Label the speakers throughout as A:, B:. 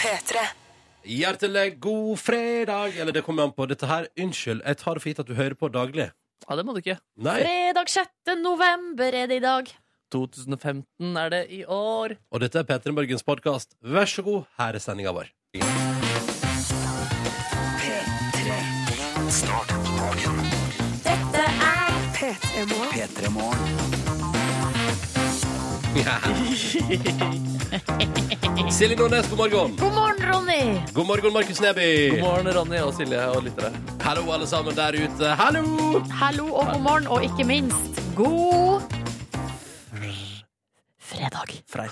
A: P3.
B: Hjertelig god fredag! Eller det kommer an på dette her. Unnskyld, jeg tar det for gitt at du hører på daglig.
C: Ja, det må du ikke.
B: Nei.
D: Fredag 6. november er det i dag.
C: 2015 er det i år.
B: Og dette er P3 Morgens podkast. Vær så god, her er sendinga vår.
D: Dette er
B: Silje Nordnes, god morgen.
D: God morgen, Ronny!
B: God morgen, Markus Neby.
C: God morgen, Ronny og Silje og lyttere.
B: Hallo, alle sammen der ute. Hallo!
D: Hallo og god morgen, og ikke minst god fredag.
C: Frei.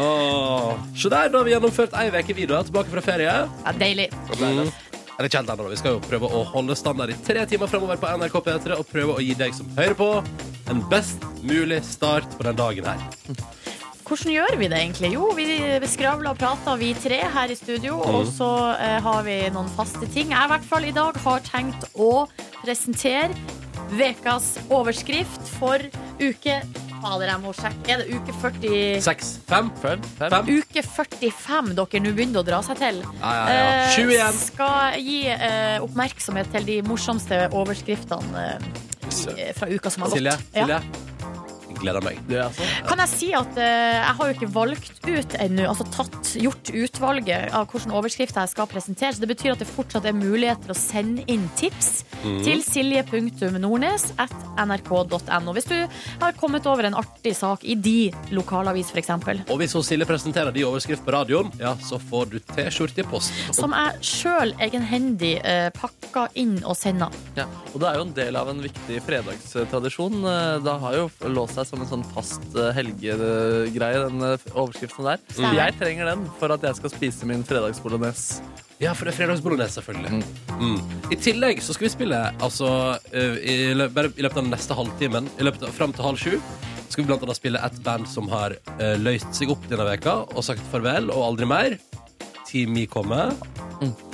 B: Åh. Se der, da har vi gjennomført ei uke videre, tilbake fra ferie.
D: Ja, deilig.
B: Mm. Eller ikke helt ennå, da. Vi skal jo prøve å holde standard i tre timer fremover på NRK P3 og prøve å gi deg som hører på, en best mulig start på den dagen her.
D: Hvordan gjør vi det egentlig? Jo, vi skravler og prater, vi tre her i studio. Og så eh, har vi noen faste ting. Jeg i hvert fall i dag har tenkt å presentere ukas overskrift for uke Fader, jeg må sjekke. Er det uke 40
B: Seks, fem,
C: Fem, fem.
B: Fem.
D: Uke 45 dere nå begynner å dra seg til.
B: ja, ja, ja.
D: Eh,
B: 21.
D: Skal gi eh, oppmerksomhet til de morsomste overskriftene eh, i- fra uka som har gått.
B: Silje,
D: Ja.
B: Silje. Gleder meg.
C: Du, altså.
D: Kan jeg si at eh, jeg har jo ikke valgt ut ennå, altså tatt, gjort utvalget av hvilken overskrift jeg skal presentere, så det betyr at det fortsatt er muligheter å sende inn tips
B: Mhm.
D: til silje.nordnes at nrk.no. Hvis du har kommet over en artig sak i de lokalavis, f.eks.,
B: Og hvis hun Silje presenterer de overskrift på radioen, ja, så får du T-skjorte i posten.
D: som jeg sjøl egenhendig eh, pakker inn og sender.
C: Ja. Og det er jo en del av en viktig fredagstradisjon. Eh, Det har jo låst seg som en sånn fast eh, helgegreie, den eh, overskriften der.
D: Stemmer.
C: Jeg trenger den for at jeg skal spise min fredagsbolognese.
B: Ja, for det er fredagsbolognese, selvfølgelig. Mm. I tillegg så skal vi spille altså, eh, i, lø bare i løpet av den neste halvtimen, i løpet av, frem til halv sju, skal vi blant annet spille et band som har eh, løst seg opp denne veka og sagt farvel og aldri mer. Team Me kommer.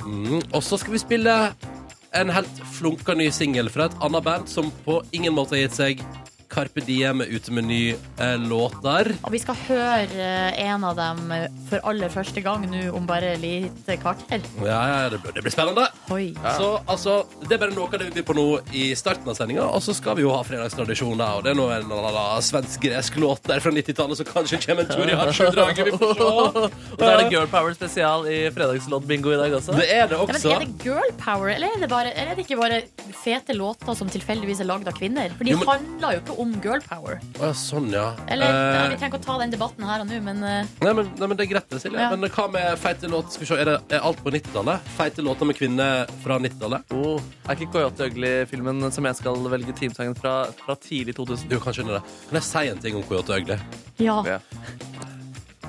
B: Mm. Og så skal vi spille en helt flunka ny singel fra et annet band som på ingen måte har gitt seg. Carpe Diem er ute med ny eh, låter.
D: Og vi skal høre eh, en av dem eh, for aller første gang nå om bare et lite kvarter.
B: Ja, ja, det blir, det blir spennende.
D: Oi.
B: Så altså, Det er bare noe av det vi byr på nå i starten av sendinga. Og så skal vi jo ha fredagstradisjoner. Og det er nå en eller annen svensk-gresk låt der fra 90-tallet som kanskje kommer en tur i Hartsjødraget. Vi får se.
C: Og så er det Girl Power spesial i fredagslodd-bingo i dag også.
B: Det er det
D: Ja, men
B: også.
D: er det girl power, eller er det, bare, eller er det ikke bare fete låter som tilfeldigvis er lagd av kvinner? For de
B: Jo, men-
D: handler jo ikke om girl power.
B: Å, ja, sånn, ja.
D: Eller, ja, Vi
B: Eh,
D: trenger ikke å ta den debatten her og nå, men eh,
B: nei, men, nei, men Det er greit, det, Silje.
D: Ja.
B: Men hva med feite låter? Skal vi se, er, det, er alt på 90-tallet? Feite låter med kvinner fra 90-tallet?
C: Oh, er ikke Coyote Ugly-filmen som jeg skal velge teamsangen fra, fra tidlig 2000?
B: Du kan skjønne det. Kan jeg si en ting om Coyote Øgle?
D: ja.
C: Ja.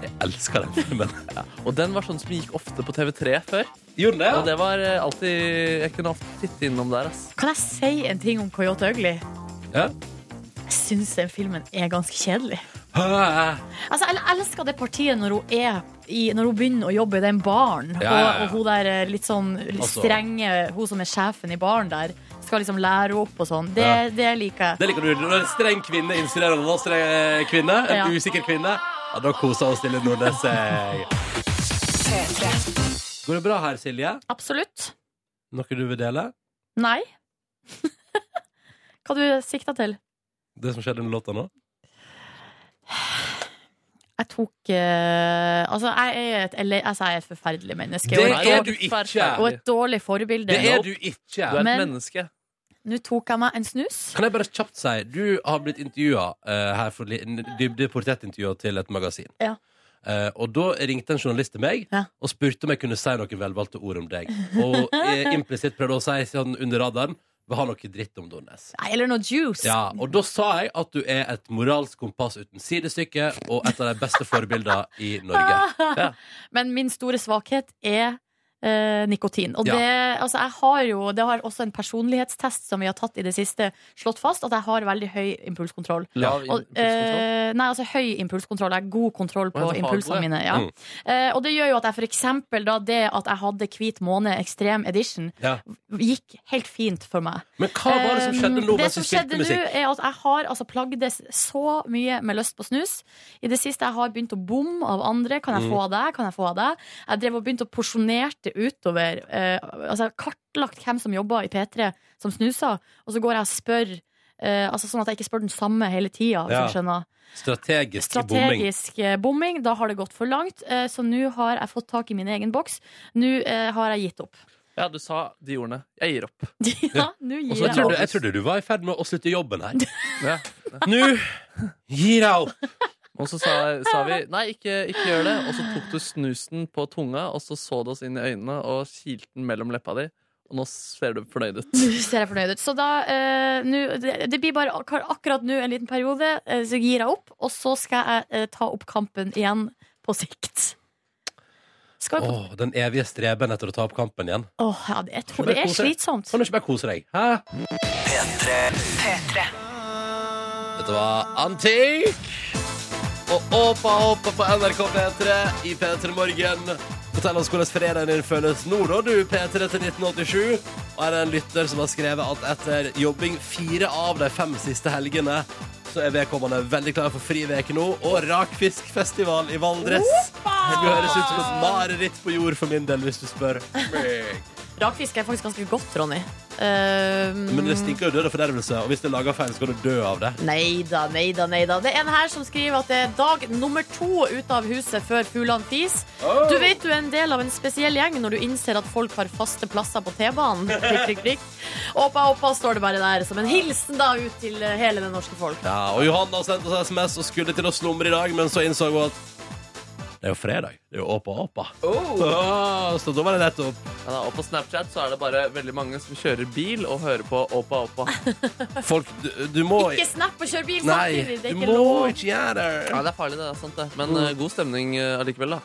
B: Jeg elsker den filmen.
C: Og den var sånn som gikk ofte på TV3 før.
B: Gjorde den det?
C: Og det var eh, alltid Jeg kunne alltid titte innom der, ass.
D: Kan jeg si en ting om Coyote Ugly?
B: Ja.
D: Jeg syns den filmen er ganske kjedelig.
B: Hæ?
D: Altså, Jeg elsker det partiet når hun er i, Når hun begynner å jobbe i den baren,
B: Ja, ja, ja.
D: Og, og hun der eh, litt sånn litt
B: Altså-
D: strenge Hun som er sjefen i baren der, skal liksom lære henne opp og sånn. Det,
B: Ja.
D: det liker jeg.
B: Det liker du. Når en streng kvinne inspirerer en annen streng kvinne, en
D: Ja.
B: usikker kvinne, ja, da koser hun Silje Nordnes seg. Går det bra her, Silje?
D: Absolutt.
B: Noe du vil dele?
D: Nei. Hva du sikta til?
B: Det som skjedde med låta nå?
D: Jeg tok eh, Altså, jeg er et, eller, altså, jeg er et forferdelig menneske.
B: Det
D: og, et
C: Nei,
B: er
D: dår-
B: du ikke.
D: og
C: forferdelig.
D: et dårlig forbilde.
B: Det er du ikke.
C: Du er
D: Men-
C: et menneske.
D: Nå tok jeg meg en snus.
B: Kan jeg bare kjapt si, du har blitt intervjua her for li- n- dybde portrettintervjuet til et magasin.
D: Ja.
B: Eh, og da ringte en journalist til meg
D: Ja.
B: og spurte om jeg kunne si noen velvalgte ord om deg. Og eh, implisitt prøvde å si sånn under radaren vil ha noe dritt om Dornes.
D: Nei, eller noe juice.
B: Ja, og da sa jeg at du er et moralsk kompass uten sidestykke,
D: Ah.
B: og et av de beste forbildene i Norge.
C: Ja.
D: Men min store svakhet er eh, nikotin. Og
B: Ja.
D: det, altså jeg har jo, det har også en personlighetstest som vi har tatt i det siste, slått fast at jeg har veldig høy impulskontroll.
C: Lav
D: Og,
C: impulskontroll.
D: eh, nei, altså høy impulskontroll. Jeg har god kontroll på
C: Å, ja, du har
D: impulsene
C: det.
D: mine. Ja.
B: Mm.
D: Eh, og det gjør jo at jeg for eksempel da, det at jeg hadde Hvit måne ekstrem edition,
B: Ja.
D: gikk helt fint for meg.
B: Men hva var det som skjedde nå
D: Um, Ehm, Det
B: mens du
D: som
B: spilte
D: skjedde nå,
B: musikk?
D: er at jeg har altså, plagdes så mye med lyst på snus. I det siste jeg har begynt å bomme av andre. Kan jeg
B: Mm.
D: få av deg? Kan jeg få av deg? Jeg drev og begynte å porsjonerte utover. Eh, altså, jeg har kartlagt hvem som jobber i P3 som snuser, og så går jeg og spør. eh, altså Sånn at jeg ikke spør den samme hele tida.
B: Ja. Strategisk bombing.
D: Strategisk eh, bomming. Da har det gått for langt. eh, Så nå har jeg fått tak i min egen boks. Nå eh, har jeg gitt opp.
C: Ja, du sa de ordene. Jeg gir opp.
D: Ja, nå
B: Og
D: gir
B: så
D: jeg
B: trodde-
D: opp.
B: Jeg trodde du var i ferd med å slutte jobben her.
C: Ja.
B: Nå gir jeg opp!
C: Og så sa, sa vi nei, ikke, ikke gjør det. Og så tok du snusen på tunga, og så så du oss inn i øynene og kilte den mellom leppa di. Og nå ser du fornøyd ut.
D: Nå ser jeg fornøyd ut. Så da eh, nå- det, det blir bare ak akkurat nå en liten periode, eh, så gir jeg opp. Og så skal jeg eh, ta opp kampen igjen på sikt. Skal vi på Åh,
B: Åh, den evige streben etter å ta opp kampen igjen.
D: ja, det, jeg tror det er slitsomt.
B: Kan du ikke bare kose deg? Hæ? Dette var Antikk og Åpa Åpa på NRK P3 i P3 Morgen. Fortell oss hvordan fredagen din føles nå, da, du, P3 til 1987. Og her er en lytter som har skrevet at etter jobbing fire av de fem siste helgene, så er vedkommende veldig klar for fri veke nå, og rakfiskfestival i Valdres. Det høres ut som et mareritt på jord for min del, hvis du spør meg.
D: Rakfisk er faktisk ganske godt, Ronny. Eh,
B: Men det stinker jo død og fordervelse, og hvis det lager feil, så skal du dø av det.
D: Nei da, nei da, nei da. Det er en her som skriver at det er dag nummer to ute av huset før fuglene fis.
B: Oh.
D: Du vet du er en del av en spesiell gjeng når du innser at folk har faste plasser på T-banen. Prikk, prikk, prikk. Oppa, oppa, står det bare der som en hilsen da ut til eh, hele det norske folk.
B: Ja, og Johanna sendte oss SMS og skulle til å slumre i dag, men så innså hun at det er jo fredag. Det er jo åpa åpa. Oh. Åh, Ah, Så da var det nettopp.
C: Ja, da, og på Snapchat så er det bare veldig mange som kjører bil og hører på Åpa Åpa.
B: Folk, du, du må
D: Ikke snap og kjør bil
B: Nei,
D: samtidig. Det
B: du
D: er ikke
B: må
D: lov.
B: ikke gjøre
C: Ja,
B: det.
C: det er farlig, det. det er sant det. Men eh, god stemning eh, allikevel, da.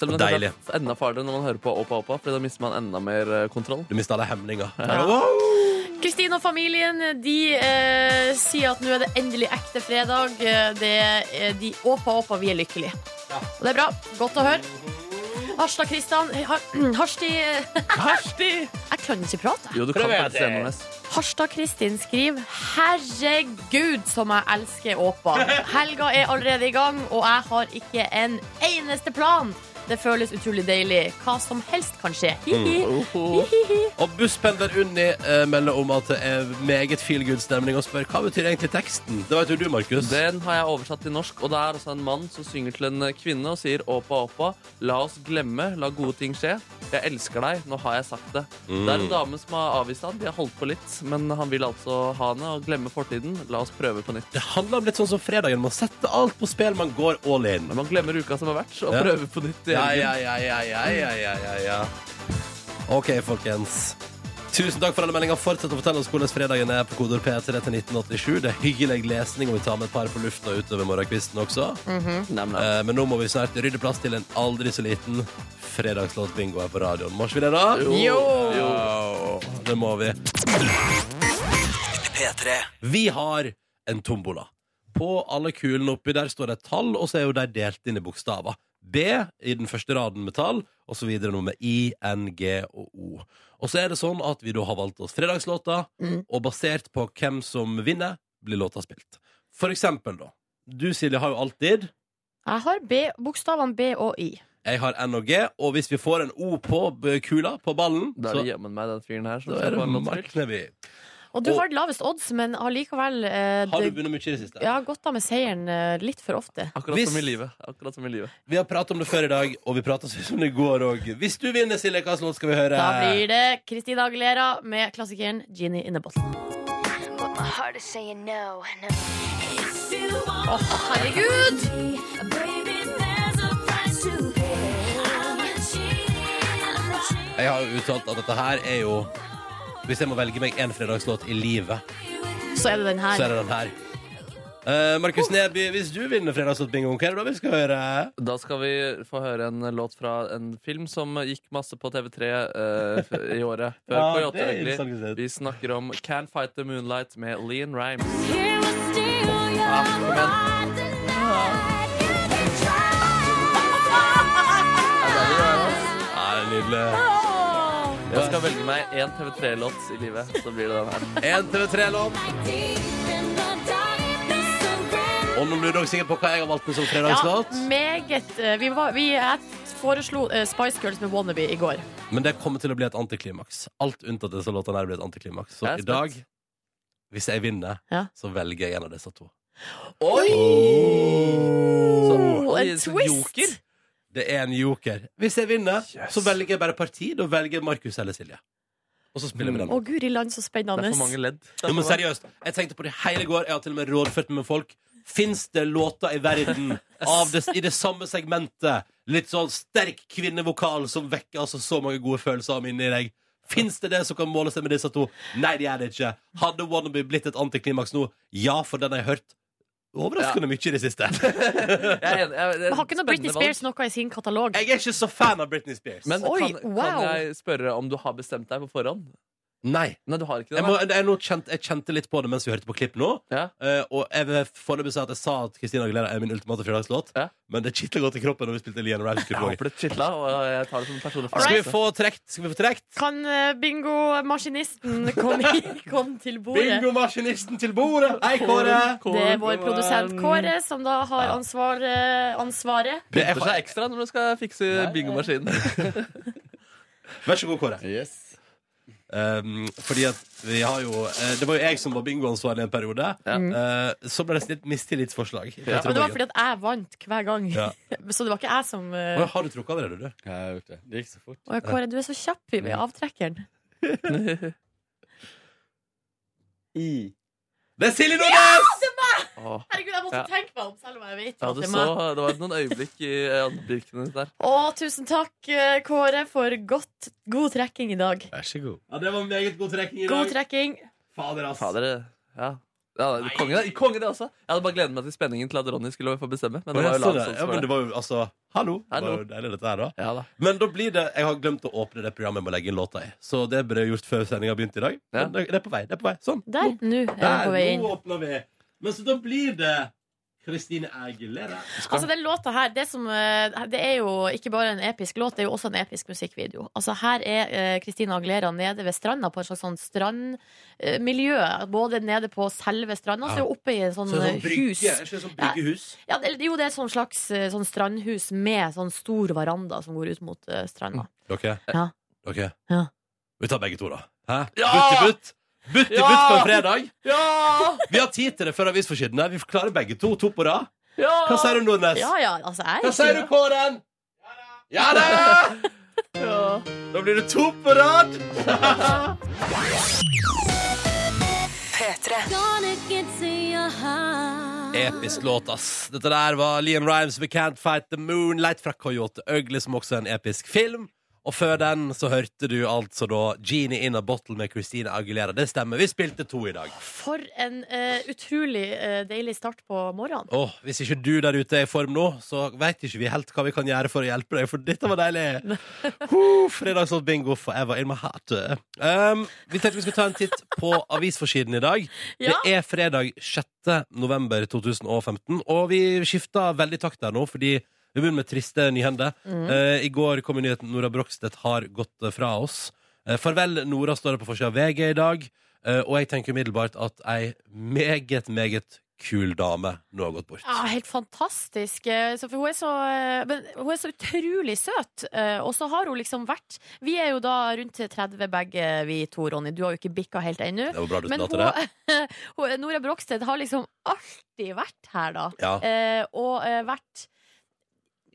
C: Selv om det
B: Deilig.
C: kanskje er enda farligere når man hører på Åpa Åpa, Fordi da mister man enda mer eh, kontroll.
B: Du mista alle hemninger. Wow.
D: Kristine og familien de eh, sier at nå er det endelig ekte fredag. Eh, Det, eh, de åpa åpa, vi er lykkelige. Og det er bra. Godt å høre. eh, Hasla Kristian Harsti Harsti! eh, Jeg kan ikke prate.
C: Jo, du kan
B: Prøver jeg
C: faktisk
B: det.
C: NMS.
D: Harstad Kristin skriver Herregud som jeg elsker Åpa Helga er allerede i gang Og jeg har ikke en eneste plan Det føles utrolig deilig Hva som helst kan skje Hihi.
C: Mm.
D: Hihihi.
B: Og busspendler Unni eh, melder om at det er meget feel good-stemning, og spør hva betyr egentlig teksten. Det vet jo du, Markus.
C: Den har jeg oversatt til norsk, og det er altså en mann som synger til en eh, kvinne og sier åpa åpa, la oss glemme, la gode ting skje. Jeg elsker deg, nå har jeg sagt det.
B: Mm.
C: Det er en dame som har avvist han, de har holdt på litt, men han vil altså ha henne og glemme fortiden. La oss prøve på nytt.
B: Det handler om litt sånn som fredagen. Man setter alt på spill, man går all in.
C: Man glemmer uka som har vært, og
B: Ja.
C: prøver på nytt. i
B: Ja,
C: helgen.
B: ja, ja, ja, ja, ja, ja, ja, ja. OK, folkens. Tusen takk for alle meldinger. Fortsett å fortelle oss hvordan fredagen er på kodord P3 til 1987. Det er hyggelig lesning, og vi tar med et par på lufta utover morgenkvisten også.
C: Nei, men,
B: Eh, Men nå må vi snart rydde plass til en aldri så liten fredagslåtbingo her på radioen. Må ikke vi det, da?
C: Jo.
B: Jo. Det må vi. Vi har en tombola. På alle kulene oppi der står det et tall, og så er jo de delt inn i bokstaver. B i den første raden med tall, og så videre noe med I, N, G og O. Og så er det sånn at vi da har valgt oss fredagslåta,
D: Mm.
B: og basert på hvem som vinner, blir låta spilt. For eksempel, da. Du, Silje, har jo alltid
D: Jeg har B, bokstavene B og I
B: jeg har N og G, og hvis vi får en O på b- kula, på ballen,
C: da
B: så
C: er det jammen meg den fyren her som
B: da
C: ser
B: er
C: på
B: det
C: en låtspill.
B: Markneby.
D: Og du
B: Og-
D: har lavest odds, men har likevel eh,
B: Har du
D: det-
B: vunnet mye i det siste?
D: ja, gått av med seieren eh, litt for ofte
C: Akkurat
B: Hvis-
C: som i livet. Akkurat som i livet.
B: Vi har pratet om det før i dag, og vi pratet om det i går òg. Hvis du vinner, Silje, hvilken låt skal vi høre?
D: Da blir det Kristina Aguilera med klassikeren Genie in a Bottle
A: But my heart is saying no, no.
D: Herregud!
B: Jeg har jo uttalt at dette her er jo Hvis jeg må velge meg én fredagslåt i livet,
D: Så er det den her
B: så er det den her. Eh, Markus Neby, hvis du vinner Fredagsbingoen, hva er det da vi skal høre?
C: Da skal vi få høre en låt fra en film som gikk masse på TV3 eh, f- i året. Før
B: Ja,
C: K8,
B: det er
C: egentlig.
B: interessant å se.
C: Vi snakker om Can't Fight The Moonlight med Lean Rhymes.
B: Nei, nydelig.
C: Jeg skal velge meg én TV3-låt i livet, så blir det den her.
B: En TV3-låt. Og nå lurer dere sikkert på hva jeg har valgt meg som
D: Ja,
B: fredagslåt.
D: meget. eh, Vi, var, vi jeg foreslo eh, Spice Girls med Wannabe i går.
B: Men det kommer til å bli et antiklimaks. Alt unntatt disse låtene her blir et antiklimaks. Så
C: Jeg er
B: i dag,
C: spent.
B: hvis jeg vinner,
D: Ja.
B: så velger jeg en av disse to.
C: Oi!
D: Oh,
C: Oi,
D: en
C: så
D: twist!
C: joker.
B: Det er en joker. Hvis jeg vinner,
C: Yes.
B: så velger jeg bare parti. Da velger jeg Markus eller Silje. Og så spiller vi den.
D: Å, guri land, så
C: Det
D: spennende.
C: er for mange ledd.
B: Jo, men seriøst, jeg tenkte på det hele går. Jeg har til og med rådført meg med folk. Fins det låter i verden av det, i det samme segmentet? Litt sånn sterk kvinnevokal som vekker altså så mange gode følelser om inni deg. Fins det det som kan måle seg med disse to? Nei, det er det ikke. Hadde Wannabe blitt et antiklimaks nå? Ja, for den har jeg hørt overraskende mye i det siste.
C: Jeg er enig. Jeg, det er
D: Men Har ikke noe
C: spennende
D: Britney
C: valg.
D: Spears noe i sin katalog?
B: Jeg er ikke så fan av Britney Spears.
C: Men
D: Oi,
C: kan, kan
D: wow.
C: jeg spørre om du har bestemt deg på forhånd?
B: nei.
C: Nei, du har ikke det.
B: Jeg, må, jeg, nå kjente, jeg kjente litt på det mens vi hørte på klipp nå.
C: da. Ja.
B: Eh, og jeg vil foreløpig si at jeg sa at Christina Aguilera er min ultimate fredagslåt.
C: Ja.
B: Men det kitler godt i kroppen når vi spilte Lian Rams
C: Jeg
B: Kullvåg.
C: har blitt chitla, og jeg tar det som en personlig
B: Skal vi
C: fornøyelse.
B: få trekt? Skal vi få trekt?
D: Kan eh, bingomaskinisten komme kom til bordet?
B: Bingomaskinisten til bordet! Hei, Kåre!
D: Det er vår produsent Kåre som da har ansvar, eh, ansvaret.
B: Det er,
C: Det er ekstra når du skal fikse bingomaskinen.
B: vær så god, Kåre.
E: Yes.
B: Um, fordi at vi har jo eh, Det var jo jeg som var bingoansvarlig en periode. Eh, så ble det stilt mistillitsforslag.
C: Ja.
D: Men Mm. det var fordi at jeg vant hver gang.
B: Ja.
D: Så det var ikke jeg som eh,
B: Oi, Har du trukket allerede, du?
E: Jeg har gjort det. Det gikk så fort.
D: Å, Kåre, du er så kjapp i- med
B: Mm.
D: avtrekkeren.
E: I.
B: Det er Silje Nordnes!
C: Åh.
D: Herregud, jeg måtte
C: Ja.
D: tenke meg om, selv om jeg vet
C: Ja,
D: at
C: du
D: det er
C: så,
D: meg.
C: det var noen øyeblikk i øyeblikkene der.
D: Å, tusen takk, eh, Kåre, for godt, god trekking i dag.
E: Vær så god.
B: Ja, det var meget god trekking i
D: God
B: dag.
D: trekking.
B: Fader, ass.
C: Fader, ja. Ja, konge, det- konge det også. Jeg hadde bare gledet meg til spenningen til at Ronny skulle få bestemme.
B: Men
C: Men det var jo
B: altså,
C: langt
B: ja, men det var jo altså Hallo. Det
C: Hallo.
B: var jo deilig, dette her, da.
C: Ja da.
B: Men da blir det Jeg har glemt å åpne det programmet jeg må legge inn låta i. Så det ble gjort før sendinga begynte i dag.
C: Ja.
B: Men Det det er på vei. det er på vei Sånn.
D: Der, nå er jeg på vei
B: Der,
D: inn.
B: nå åpner vi. Men så da blir det Kristine Aguilera.
D: Altså den låta her det, som, eh, det er jo ikke bare en episk låt, det er jo også en episk musikkvideo. Altså Her er Kristina Aglera nede ved stranda, på et slags sånn strandmiljø. Både nede på selve stranda
B: Ja.
D: og oppe i en sånn,
B: Så det er
D: eh,
B: sånn brygge,
D: hus.
B: er ikke det sånn bryggehus.
D: Ja, det, jo, det er et sånn slags eh, sånn strandhus med sånn stor veranda som går ut mot eh, stranda.
B: Dere?
D: Ja.
B: Dere?
D: Ja.
B: Vi tar begge to, da. Hæ?
C: Ja!
B: Butt i butt. Butt i
C: Ja!
B: butt på en fredag.
C: Ja!
B: Vi har tid til det før avisforsidene. Vi klarer begge to. To på rad.
C: ja!
B: Hva sier du, Nordnes?
D: Ja ja, altså jeg
B: Hva sier du, Kåren? Ja da! Da blir det to på rad. Episk låt, ass. Dette der var Liam Rhymes We Can't Fight The Moonlight fra Coyote Ugly, som også er en episk film. Og før den så hørte du altså da Genie in a Bottle med Christina Aguilera. Det stemmer. Vi spilte to i dag.
D: For en eh, utrolig eh, deilig start på morgenen.
B: Åh, Hvis ikke du der ute er i form nå, så veit ikke vi helt hva vi kan gjøre for å hjelpe deg, for dette var deilig. Huh, Fredagslåt bingo forever in my heart. Um, vi tenkte vi skulle ta en titt på avisforsiden i dag.
D: Ja.
B: Det er fredag 6. november 2015, og vi skifter veldig takt der nå, fordi vi begynner med triste nyhender. Eh, I går kom jo nyheten Nora Brogstedt har gått eh, fra oss. Eh, farvel, Nora står det på forsida av VG i dag. Eh, og jeg tenker umiddelbart at ei meget, meget kul dame nå har gått bort.
D: Ja, Ah, helt fantastisk. Eh, Så for hun, er så, eh, men hun er så utrolig søt. Eh, Og så har hun liksom vært Vi er jo da rundt 30 begge vi to, Ronny. Du har jo ikke bikka helt ennå.
B: Det var bra du
D: Men
B: la
D: hun,
B: til det.
D: hun, Nora Brogstedt har liksom alltid vært her, da.
B: Ja.
D: Eh, og eh, vært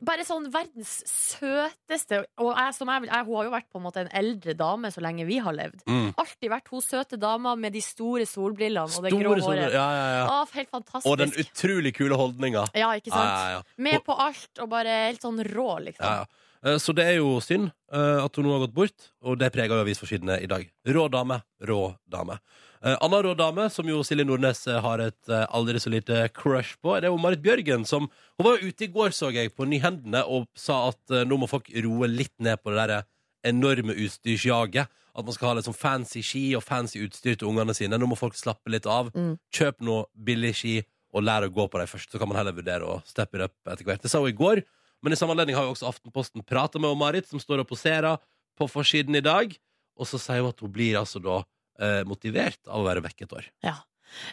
D: bare sånn verdens søteste Og jeg, som jeg, vil- jeg, hun har jo vært på en måte en eldre dame så lenge vi har levd.
B: Mm.
D: Alltid vært hun søte dama med de store solbrillene og det grå
B: Store sånne
D: håret.
B: ja, ja, ja.
D: Å, helt fantastisk.
B: Og den utrolig kule holdninga.
D: ja, ikke sant?
B: Ja, ja, ja.
D: Med på alt og bare helt sånn rå, liksom.
B: Ja, ja. Eh, Så det er jo synd eh, at hun nå har gått bort, og det preger jo avisforsidene i dag. Rå dame, rå dame. Eh, Eh, Anna rå dame, som jo Silje Nordnes eh, har et eh, aldri så lite crush på, det er jo Marit Bjørgen. som Hun var jo ute i går, så jeg, på Nyhendene og sa at eh, nå må folk roe litt ned på det der eh, enorme utstyrsjaget. At man skal ha litt sånn fancy ski og fancy utstyr til ungene sine. Nå må folk slappe litt av.
D: Mm.
B: Kjøp noe billig ski og lær å gå på dem først. Så kan man heller vurdere å steppe det opp etter hvert. Det sa hun i går. Men i samme anledning har jo også Aftenposten prata med Marit, som står og poserer på forsiden i dag. Og så sier hun at hun blir altså da eh, motivert av å være vekk et år.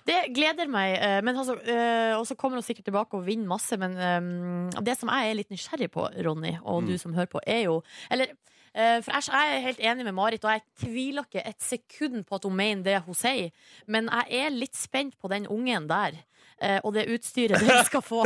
D: Det gleder meg. eh, Men altså, eh, og så kommer hun sikkert tilbake og vinner masse. Men eh, det som jeg er litt nysgjerrig på, Ronny, og
B: Mm.
D: du som hører på, er jo Eller eh, for jeg, jeg er helt enig med Marit, og jeg tviler ikke et sekund på at hun mener det hun sier. Men jeg er litt spent på den ungen der. eh, Og det utstyret den skal få.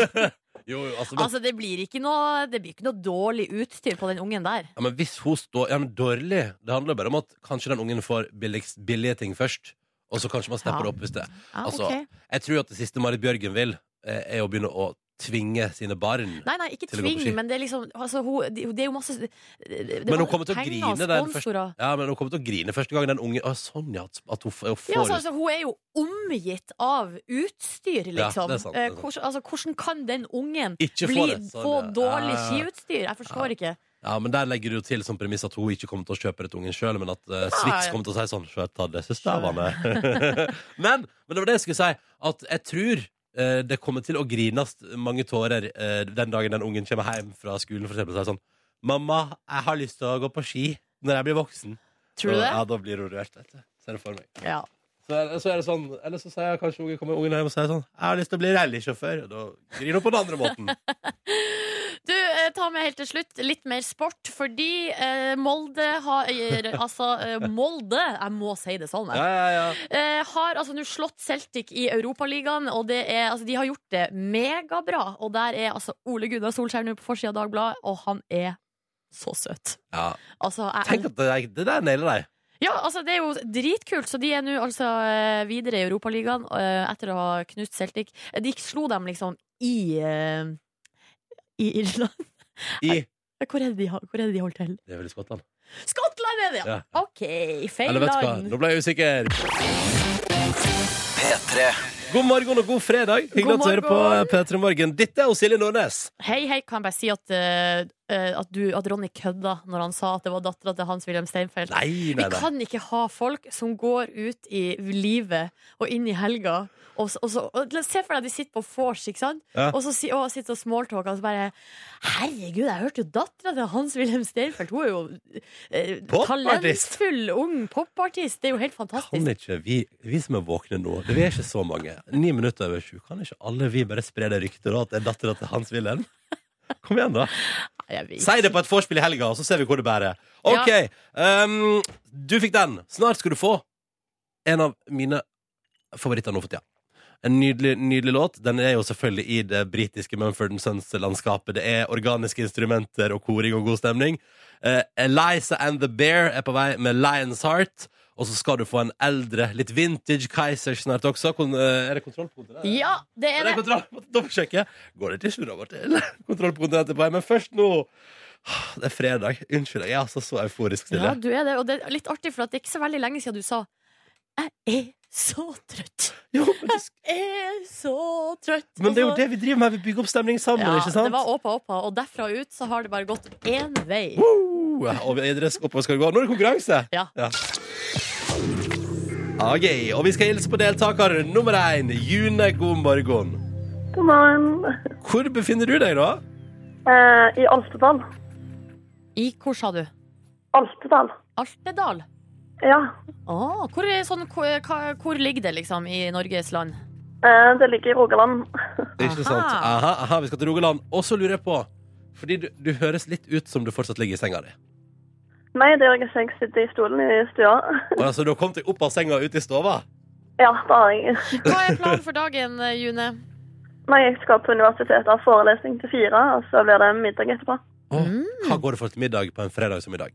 B: Jo, jo, altså, men,
D: Altså, det blir ikke noe, det blir ikke noe dårlig utstyr på den ungen der.
B: ja, men hvis hun står ja, men dårlig Det handler jo bare om at kanskje den ungen får billigst, billige ting først. Og så kanskje man stepper
D: Ja.
B: det opp hvis det
D: Ja,
B: Altså,
D: ok.
B: Jeg tror at det siste Marit Bjørgen vil, eh, er å begynne å tvinge sine barn.
D: Nei, nei, ikke
B: til å gå på
D: tving,
B: ski.
D: men det er liksom altså, hun, det, det er jo masse det, det-
B: Men hun kommer til å
D: penger
B: grine
D: og
B: den første-
D: sponsorer.
B: Ja, men hun kommer til å grine første gang den unge Å, sånn, ja. At at hun, f- hun får
D: Ja, altså, altså, hun er jo omgitt av utstyr,
B: Ja,
D: liksom.
B: det er sant, det er
D: Eh,
B: sant.
D: Hvordan, altså, hvordan kan den ungen
B: Ikke
D: bli,
B: får det. Sånn,
D: få
B: ja.
D: dårlig
B: Ja, ja, ja.
D: skiutstyr? Jeg forstår ikke.
B: Ja, men der legger du jo til som premiss at hun ikke kommer til å kjøpe det til ungen sjøl, men at eh, Swix
D: Nei.
B: kommer til å si sånn Sjøl ta det søstevane. men, men det var det jeg skulle si, at jeg tror eh, det kommer til å grines mange tårer eh, den dagen den ungen kommer hjem fra skolen for eksempel og sier sånn Mamma, jeg har lyst til å gå på ski når jeg blir voksen.
D: Tror du
B: Og-
D: det?
B: Ja, da blir hun rørt, vet du. Ser det for meg.
D: Ja.
B: Så er, så er det sånn, Eller så sier jeg kanskje ungen kommer ungen hjem og sier sånn 'Jeg har lyst til å bli rallysjåfør'. Og da griner hun på den andre måten.
D: Du, eh, ta med helt til slutt litt mer sport, fordi eh, Molde har eh, Altså, eh, Molde Jeg må si det sånn, jeg.
B: Ja, ja, ja.
D: eh, har altså nå slått Celtic i Europaligaen, og det er, altså, de har gjort det megabra. Og der er altså Ole Gunnar Solskjær nå på forsida av Dagbladet, og han er så søt.
B: ja.
D: Altså, jeg
B: Tenk at det, der- det der nailer deg.
D: Ja, altså det er jo dritkult, så de er nå altså eh, videre i Europaligaen eh, etter å ha knust Celtic. Eh, De slo dem liksom i eh, i Irland.
B: I
D: Hvor er det de, har- hvor er det de holder til?
B: Det er vel i Skottland.
D: Skottland er det, ja!
B: Ja.
D: OK, feil
B: Eller vet du hva,
D: land.
B: nå ble jeg usikker. God morgen og god fredag. Hyggelig
D: God
B: at du hører på
D: morgen.
B: P3 Morgen. Dette er jo Silje Nordnes.
D: Hei, hei, kan jeg bare si at, eh, eh, at, du, at Ronny kødda når han sa at det var dattera til Hans-Wilhelm Steinfeld?
B: Nei,
D: Vi
B: nei, nei.
D: kan ikke ha folk som går ut i livet og inn i helga. Og, så- og, så- og, la- se for deg de sitter på vors, ikke sant?
B: Ja.
D: Og så si- og sitter og smalltalker og så bare Herregud, jeg hørte jo dattera til Hans-Wilhelm Steinfeld! Hun er jo eh,
B: Popartist.
D: talentfull ung popartist! Det er jo helt fantastisk.
B: Kan ikke vi, vi som er våkne nå, vi er ikke så mange, ni minutter over sju, kan ikke alle vi bare spre det ryktet da at det er dattera til Hans Wilhelm? Kom igjen, da.
D: Nei, jeg vet
B: Si det på et vorspiel i helga, og så ser vi hvor det bærer. OK. ehm, du fikk den. Snart skal du få en av mine favoritter nå for tida. En nydelig, nydelig låt. Den er jo selvfølgelig i det britiske Mumford Sons-landskapet. Det er organiske instrumenter og koring og god stemning. Eh, Eliza and the Bear er på vei med Lion's Heart. Og så skal du få en eldre, litt vintage Kaiser snart også. Kon eh, er det kontroll på kontoret?
D: Ja, det er
B: Det er
D: det!
B: kontroll på dobbeltsjekket. Går det til snurra vår til? Kontroll på kontinentet på vei, men først nå Det er fredag. Unnskyld, jeg er altså så euforisk til
D: Ja,
B: det.
D: du er det. Og det er litt artig, for at det er ikke så veldig lenge siden du sa Jeg er så trøtt.
B: Jo, men, det,
D: Jeg er så trøtt.
B: men det er jo
D: Og så-
B: det vi driver med. Vi bygger opp stemning sammen,
D: Altså- Ja,
B: ikke sant?
D: det var åpa åpa, og derfra ut så har det bare gått én vei.
B: Woo! Og videre skal- oppover skal vi gå. Nå er det konkurranse!
D: Ja.
B: Ok, og vi skal hilse på deltaker nummer én, June. God morgen.
F: God morgen.
B: Hvor befinner du deg, da?
F: Eh, I Alstedal.
D: I hvor, sa du?
F: Alstedal.
D: Altedal?
F: Ja.
D: Ah, hvor, er sånn, hvor, hva- hvor ligger det, liksom, i Norges land?
F: Eh, det ligger i Rogaland.
B: Ikke sant? Aha, aha, vi skal til Rogaland. Og så lurer jeg på, fordi du, du høres litt ut som du fortsatt ligger i senga di.
F: Nei, det gjør jeg ikke. Jeg sitter i stolen i stua.
B: Og altså, du har kommet deg opp av senga og ut i stova?
F: Ja, det har jeg.
D: Hva er planen for dagen, eh, June?
F: Nei, jeg skal på universitetet ha forelesning til fire, og så blir det middag etterpå.
B: Åh, Hva går det for til middag på en fredag som i dag?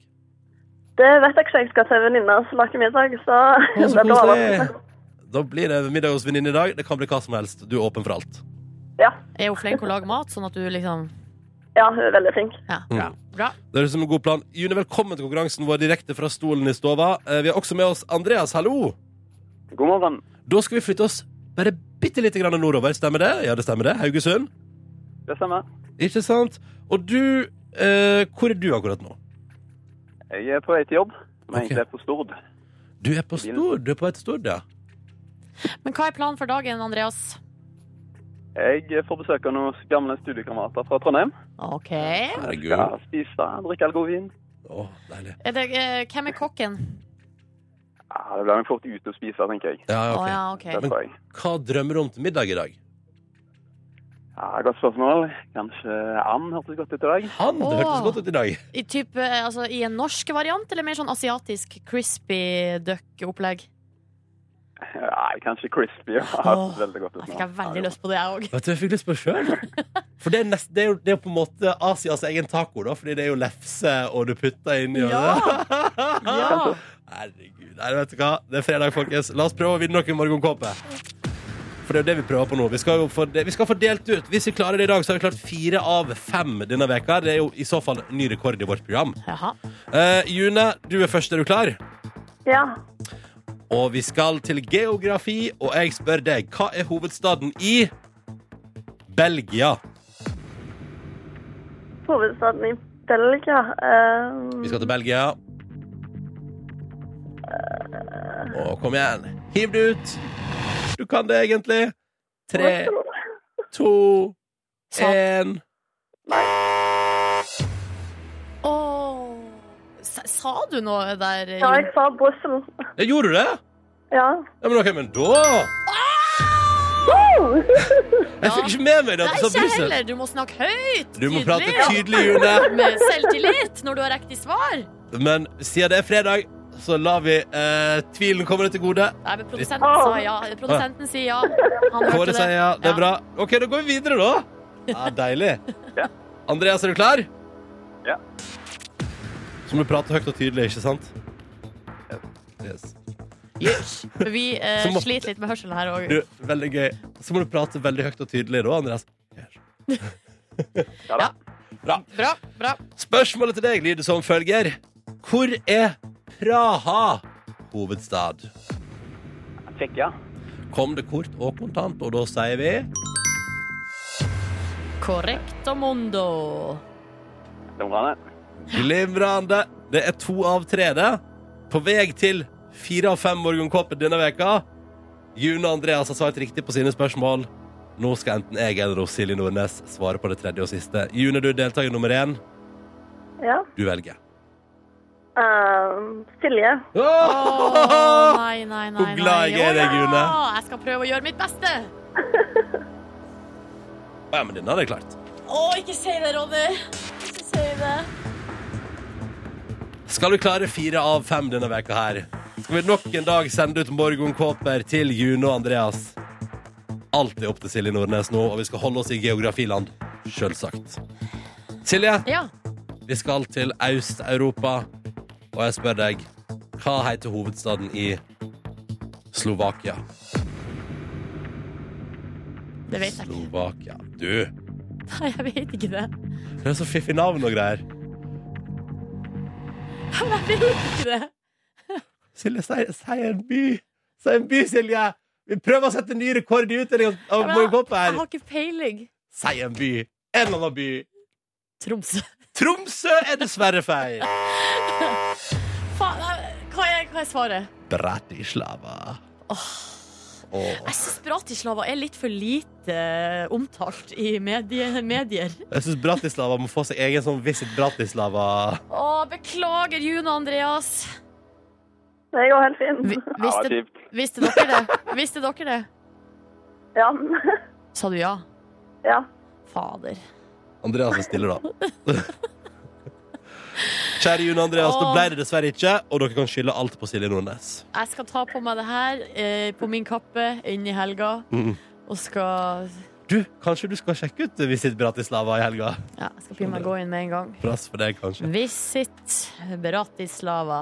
F: Det vet jeg ikke. Jeg skal til venninner som lager middag, så
B: Å, så
F: det blir
B: koselig!
F: overraskende.
B: Da blir det middag hos venninne i dag. Det kan bli hva som helst. Du er åpen for alt.
F: Ja.
D: Er hun flink å lage mat, sånn at du liksom
F: ja, hun er veldig flink.
D: Ja.
B: Mm.
D: Bra.
B: Det høres ut som en god plan. June, velkommen til konkurransen vår direkte fra stolen i stova. Eh, Vi har også med oss Andreas. Hallo!
G: God morgen.
B: Da skal vi flytte oss bare bitte lite grann nordover. Stemmer det? Ja, det stemmer det. Haugesund.
G: Det stemmer.
B: Ikke sant? Og du eh, Hvor er du akkurat nå?
G: Jeg er på vei til jobb, som
B: Ok.
G: egentlig er på Stord.
B: Du er på Stord. Du er på et Stord, ja.
D: Men hva er planen for dagen, Andreas?
G: Jeg får besøk av noen gamle studiekamerater fra Trondheim.
D: Ok.
B: Herregud.
G: Skal spise, drikke all god vin.
B: Å, deilig.
D: Er det, eh, hvem er kokken?
G: Ja, det blir nok fort ute å spise, tenker jeg.
B: Ja,
D: Å
B: ok.
D: ja,
G: Det
D: ok.
G: tror jeg.
B: Hva drømmer du om til middag i dag?
G: Ja, godt spørsmål. Kanskje and hørtes godt ut i dag?
B: Han! Det hørtes
D: Åh.
B: godt ut i dag.
D: I, type, eh, altså, I en norsk variant, eller mer sånn asiatisk crispy duck-opplegg?
G: Nei, kanskje crispy. Ja, det
D: Åh,
G: hørtes veldig godt
D: Da
G: ut
D: fikk jeg veldig lyst på det, jeg òg.
B: Vet du, jeg fikk lyst på det sjøl. For det er, nest, det, er jo, det er jo på en måte Asias egen taco, da. Fordi det er jo lefse, og du putter inni og
D: Ja.
B: Herregud. Nei, vet du hva? Det er fredag, folkens. La oss prøve å vinne noen morgenkåper. For det er jo det vi prøver på nå. Vi skal jo få, de- vi skal få delt ut. Hvis vi klarer det i dag, så har vi klart fire av fem denne veka. Det er jo i så fall ny rekord i vårt program.
D: Jaha.
B: Eh, June, du er først. Er du klar?
F: Ja.
B: Og vi skal til geografi, og jeg spør deg, hva er hovedstaden i Belgia?
F: Hovedstaden i Belgia eh,
B: Vi skal til Belgia. Å, kom igjen. Hiv det ut. Du kan det egentlig. Tre, to,
D: Sa-
B: én
D: Åh. Sa, sa du noe der?
F: Ja,
D: Jon?
F: jeg sa Brussel.
B: ja, Gjorde du det?
F: Ja.
B: Ja, men ok, men da Jeg fikk ikke med meg det
D: Nei,
B: at du sa
D: ikke jeg
B: Brussel.
D: heller. Du må snakke høyt.
B: Du må prate
D: ja.
B: tydelig, June.
D: Med selvtillit når du har riktig svar.
B: Men siden det er fredag, så lar vi eh, tvilen komme deg til gode.
D: Nei, men produsenten sa ja. Produsenten sier ja. Han
B: Kåre
D: hørte det.
B: sier ja. Det
D: Ja.
B: er bra. OK, da går vi videre, da. Ja, deilig. Andreas, er du klar?
G: Ja.
B: Så må du prate høyt og tydelig, ikke sant? Yes.
D: Yes. Vi eh,
B: Så må-
D: sliter litt med hørselen her òg.
B: Du, veldig gøy. Så må du prate veldig høyt og tydelig, da, Andreas.
G: Ja, da.
D: Bra. bra
B: Spørsmålet til deg lyder som følger. Hvor er Praha hovedstad?
G: Tsjekkia.
B: Kom det kort og kontant, og da sier vi
D: Correcto mundo.
G: Glimrende.
B: Glimrende. Det er to av tre, det. På vei til fire av fem morgenkåper denne veka. June og Andreas har svart riktig på sine spørsmål. Nå skal enten jeg eller hun, Silje Nordnes svare på det tredje og siste. June, du er deltaker nummer én.
F: ja.
B: Du velger.
F: Eh, Silje.
D: Åh,
B: Åh!
D: nei, nei, nei.
B: Hvor glad jeg er i deg,
D: Åh, ja.
B: June.
D: Jeg skal prøve å gjøre mitt beste.
B: Ja, men denne hadde jeg klart.
D: Å, ikke si det, Ronny. Ikke si det.
B: Skal du klare fire av fem denne veka her, skal vi nok en dag sende ut morgenkåper til June og Andreas. Alt er opp til Silje Nordnes nå, og vi skal holde oss i geografiland. Sjølsagt. Silje,
D: Ja.
B: vi skal til Øst-Europa, og jeg spør deg hva heter hovedstaden i Slovakia?
D: Det vet jeg ikke.
B: Slovakia. Du,
D: Nei, jeg vet ikke det.
B: det er så fiffig navn og greier.
D: Jeg vet ikke det.
B: Silje, si, si en by. Si en by, Silje. Vi prøver å sette ny rekord i utdeling av- av
D: Ja, men
B: morgenkåper.
D: Jeg har ikke peiling.
B: Si en by. En eller annen by.
D: Tromsø.
B: Tromsø er dessverre feil.
D: Faen, nei, hva er, hva er svaret?
B: Bratislava. Åh.
D: Jeg syns Bratislava er litt for lite eh, omtalt i medie, medier.
B: Jeg syns Bratislava må få seg egen sånn Visit Bratislava.
D: Å, beklager, June og Andreas.
F: Det går helt fint.
D: Vi-
G: Ja, det var
D: Visste,
G: kjipt.
D: visste dere det? Visste dere det?
F: Ja.
D: Sa du ja?
F: ja.
D: Fader.
B: Andreas er stille, da. Kjære June Andreas, det ble det dessverre ikke, og dere kan skylde alt på Silje Nordnes.
D: Jeg skal ta på meg det her eh, på min kappe inn i helga.
B: Mhm.
D: Og skal
B: Du, kanskje du skal sjekke ut Visit Bratislava i helga?
D: Ja, jeg skal begynne å gå inn med en gang.
B: Press for deg, kanskje.
D: Visit Bratislava.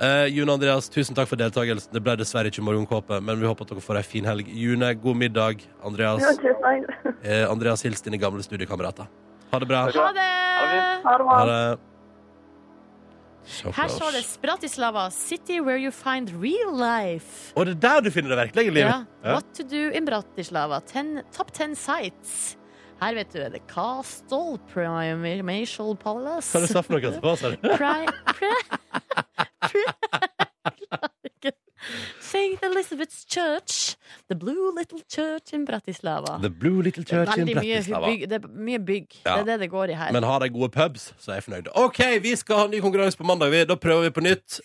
B: Eh, June Andreas, tusen takk for deltakelsen. Det ble dessverre ikke morgenkåpe, men vi håper at dere får ei en fin helg. June, god middag. Andreas,
F: Jo, Tusen takk.
B: eh, Andreas hils dine gamle studiekamerater. Ha det bra.
G: Ha det bra.
D: Ha det!
F: Ha det bra.
B: Ha det.
D: Her står det Bratislava, city where you find real life.
H: Og det er der du finner det virkelige
D: Ja.
H: livet?
D: What to do in Bratislava. Ten, top ten sites. Her vet du The Castle, Primatial Palace
H: Hva du sa for noe etterpå? sa du?
D: Pri... Pri... Pri... St. Elizabeth's Church. The Blue Little Church in Bratislava.
H: The Blue Little Church in
D: Veldig mye
H: Bratislava.
D: bygg. Det er mye bygg.
H: Ja.
D: Det er det det går i her.
B: Men har de gode pubs, så er jeg fornøyd. OK, vi skal ha ny konkurranse på mandag. vi. Da prøver vi på nytt.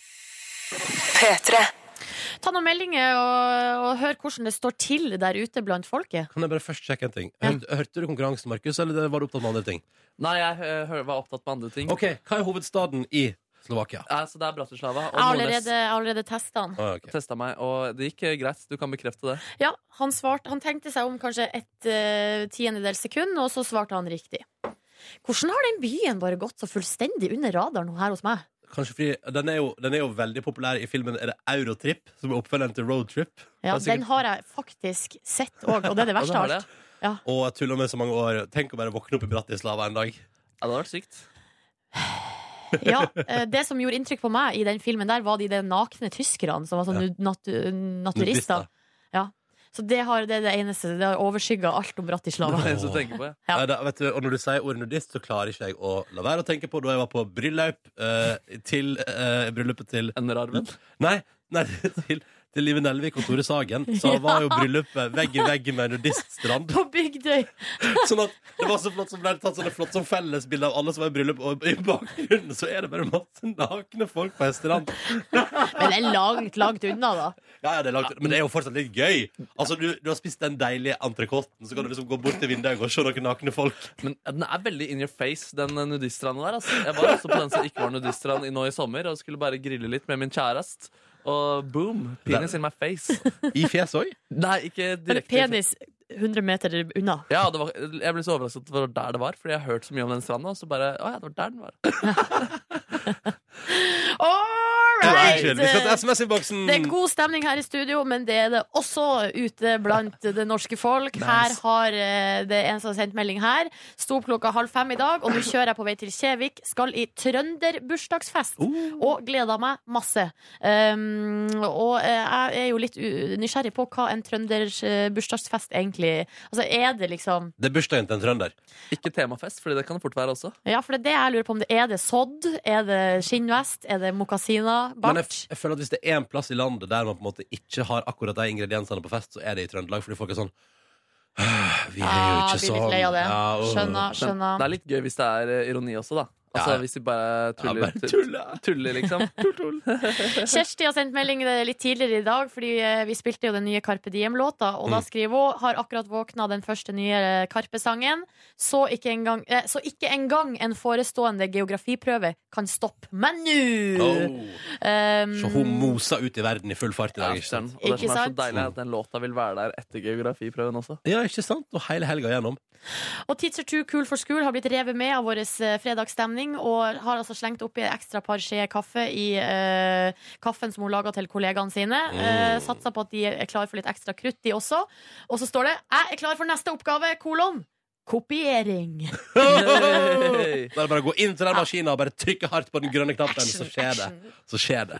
D: Ta noen meldinger og, og hør hvordan det står til der ute blant folket.
B: Kan jeg bare først sjekke en ting? Hørte, hørte du konkurransen, Markus, eller var du opptatt med andre ting?
C: Nei, jeg eh, hø- var opptatt med andre ting.
B: OK, hva er hovedstaden i Slovakia?
C: Eh, så det er Bratislava.
D: Jeg har
C: Og Nordnes
D: allerede, jeg har allerede testa han.
B: Ah, ok.
C: testa meg, og det gikk eh, greit. Du kan bekrefte det.
D: Ja, han, svarte, han tenkte seg om kanskje et eh, tiendedels sekund, og så svarte han riktig. Hvordan har den byen bare gått så fullstendig under radaren her hos meg?
B: Kanskje fordi den er, jo, den er jo veldig populær i filmen Er det Eurotrip, som er oppfølgeren til Roadtrip.
C: Det
D: Ja,
C: er sikkert-
D: Den har jeg faktisk sett òg, og det er det
C: Ja,
D: verste
C: det
D: av
C: har det.
D: alt.
B: Og jeg tuller med så mange år. Tenk å bare våkne opp i Bratislava en dag.
C: Ja, det hadde vært sykt.
D: Ja, eh, det som gjorde inntrykk på meg i den filmen der, var de der nakne tyskerne som var sånn
B: Ja.
D: nu- natu naturister. Ja. Så det, har, det er det eneste. Det har overskygga alt om
C: Det
D: Bratislava.
C: var det eneste du tenker på, ja.
D: Ja.
B: Nei, Eh, da, vet du, og når du sier ordet nudist, så klarer ikke jeg å la være å tenke på da jeg var på bryllup eh, til eh, Bryllupet til
C: Enderarven.
B: Nei, nei til, til Live Nelvik og Tore Sagen. Så var jo bryllupet vegg i vegg med nudiststrand.
D: På Bygdøy!
B: Sånn at det var så flott som ble tatt sånne flott som fellesbilder av alle som var i bryllup, og i bakgrunnen så er det bare masse nakne folk på en strand.
D: Men det er langt, langt unna, da.
B: Ja, ja, det er langt, men det er jo fortsatt litt gøy. Altså, du, du har spist den deilige entrecôten, så kan du liksom gå bort til vinduet og se noen nakne folk.
C: Men den er veldig in your face, den eh, nudiststranden der. Altså. Jeg var også på den som ikke var nudiststrand i nå i sommer, og skulle bare grille litt med min kjærest. Og boom! Penis in my face.
B: I fjeset òg.
C: Nei, ikke
D: Men
C: direkte.
D: penis 100 meter unna.
C: Ja, det var, jeg ble så overrasket at det var der det var, fordi jeg har hørt så mye om den stranda. Og så bare, å ja, det var der den var.
D: All
B: Right.
D: right!
B: Vi skal til SMS-innboksen.
D: Det er god stemning her i studio, men det er det også ute blant det norske folk. Her har eh, det er en som har sendt melding her. Sto opp klokka halv fem i dag, og nå kjører jeg på vei til Kjevik. Skal i trønderbursdagsfest. Og gleder meg masse. Um, og eh, jeg er jo litt u- nysgjerrig på hva en trønderbursdagsfest egentlig Altså, er det liksom
B: Det er bursdagen til en trønder.
C: Ikke temafest, fordi det kan det fort være også.
D: Ja, for det er det jeg lurer på om det er det sodd? Er det skinnvest? Er det mokasiner?
B: Men jeg,
D: Bart?
B: jeg føler at hvis det er en plass i landet der man på en måte ikke har akkurat de ingrediensene på fest, så er det i Trøndelag, fordi folk er sånn «Åh, Vi er jo
D: Ja,
B: ikke
D: blir
B: sånn.
D: Ah, litt lei av det.
B: Ja, åh».
D: Skjønner,
C: Men
D: skjønner.
C: det er litt gøy hvis det er eh, ironi også, da. Altså
B: Ja, ja.
C: hvis de bare tuller.
B: Ja, bare
C: tuller. liksom.
D: Kjersti har sendt melding eh, litt tidligere i dag, fordi eh, vi spilte jo den nye Carpe Diem-låta. Og da skriver hun har akkurat våkna den første nye eh, Karpe-sangen. Så, ikke engang- eh, så ikke engang en forestående geografiprøve kan stoppe meg nå!
B: Åh.
D: Um,
B: Så hun mosa ut i verden i full fart i
C: Ja,
B: dag, ikke sant?
C: skjønner. og det
D: Ikke
C: som er så
D: sant?
C: deilig, er at den låta vil være der etter geografiprøven også.
B: Ja, ikke sant? Og hele helga gjennom.
D: og Teacher 2 Cool for School har blitt revet med av vår eh, fredagsstemning, og har altså slengt oppi et ekstra par skjeer kaffe i eh, kaffen som hun laga til kollegaene sine. Eh, satsa på at de er klar for litt ekstra krutt, de også. Og så står det 'Jeg er klar for neste oppgave', kolon. Kopiering.
C: Yay!
B: Da er det bare å gå inn til den maskinen og bare trykke hardt på den grønne knappen, så
D: Action,
B: skjer det.
D: action.
B: Så skjer det.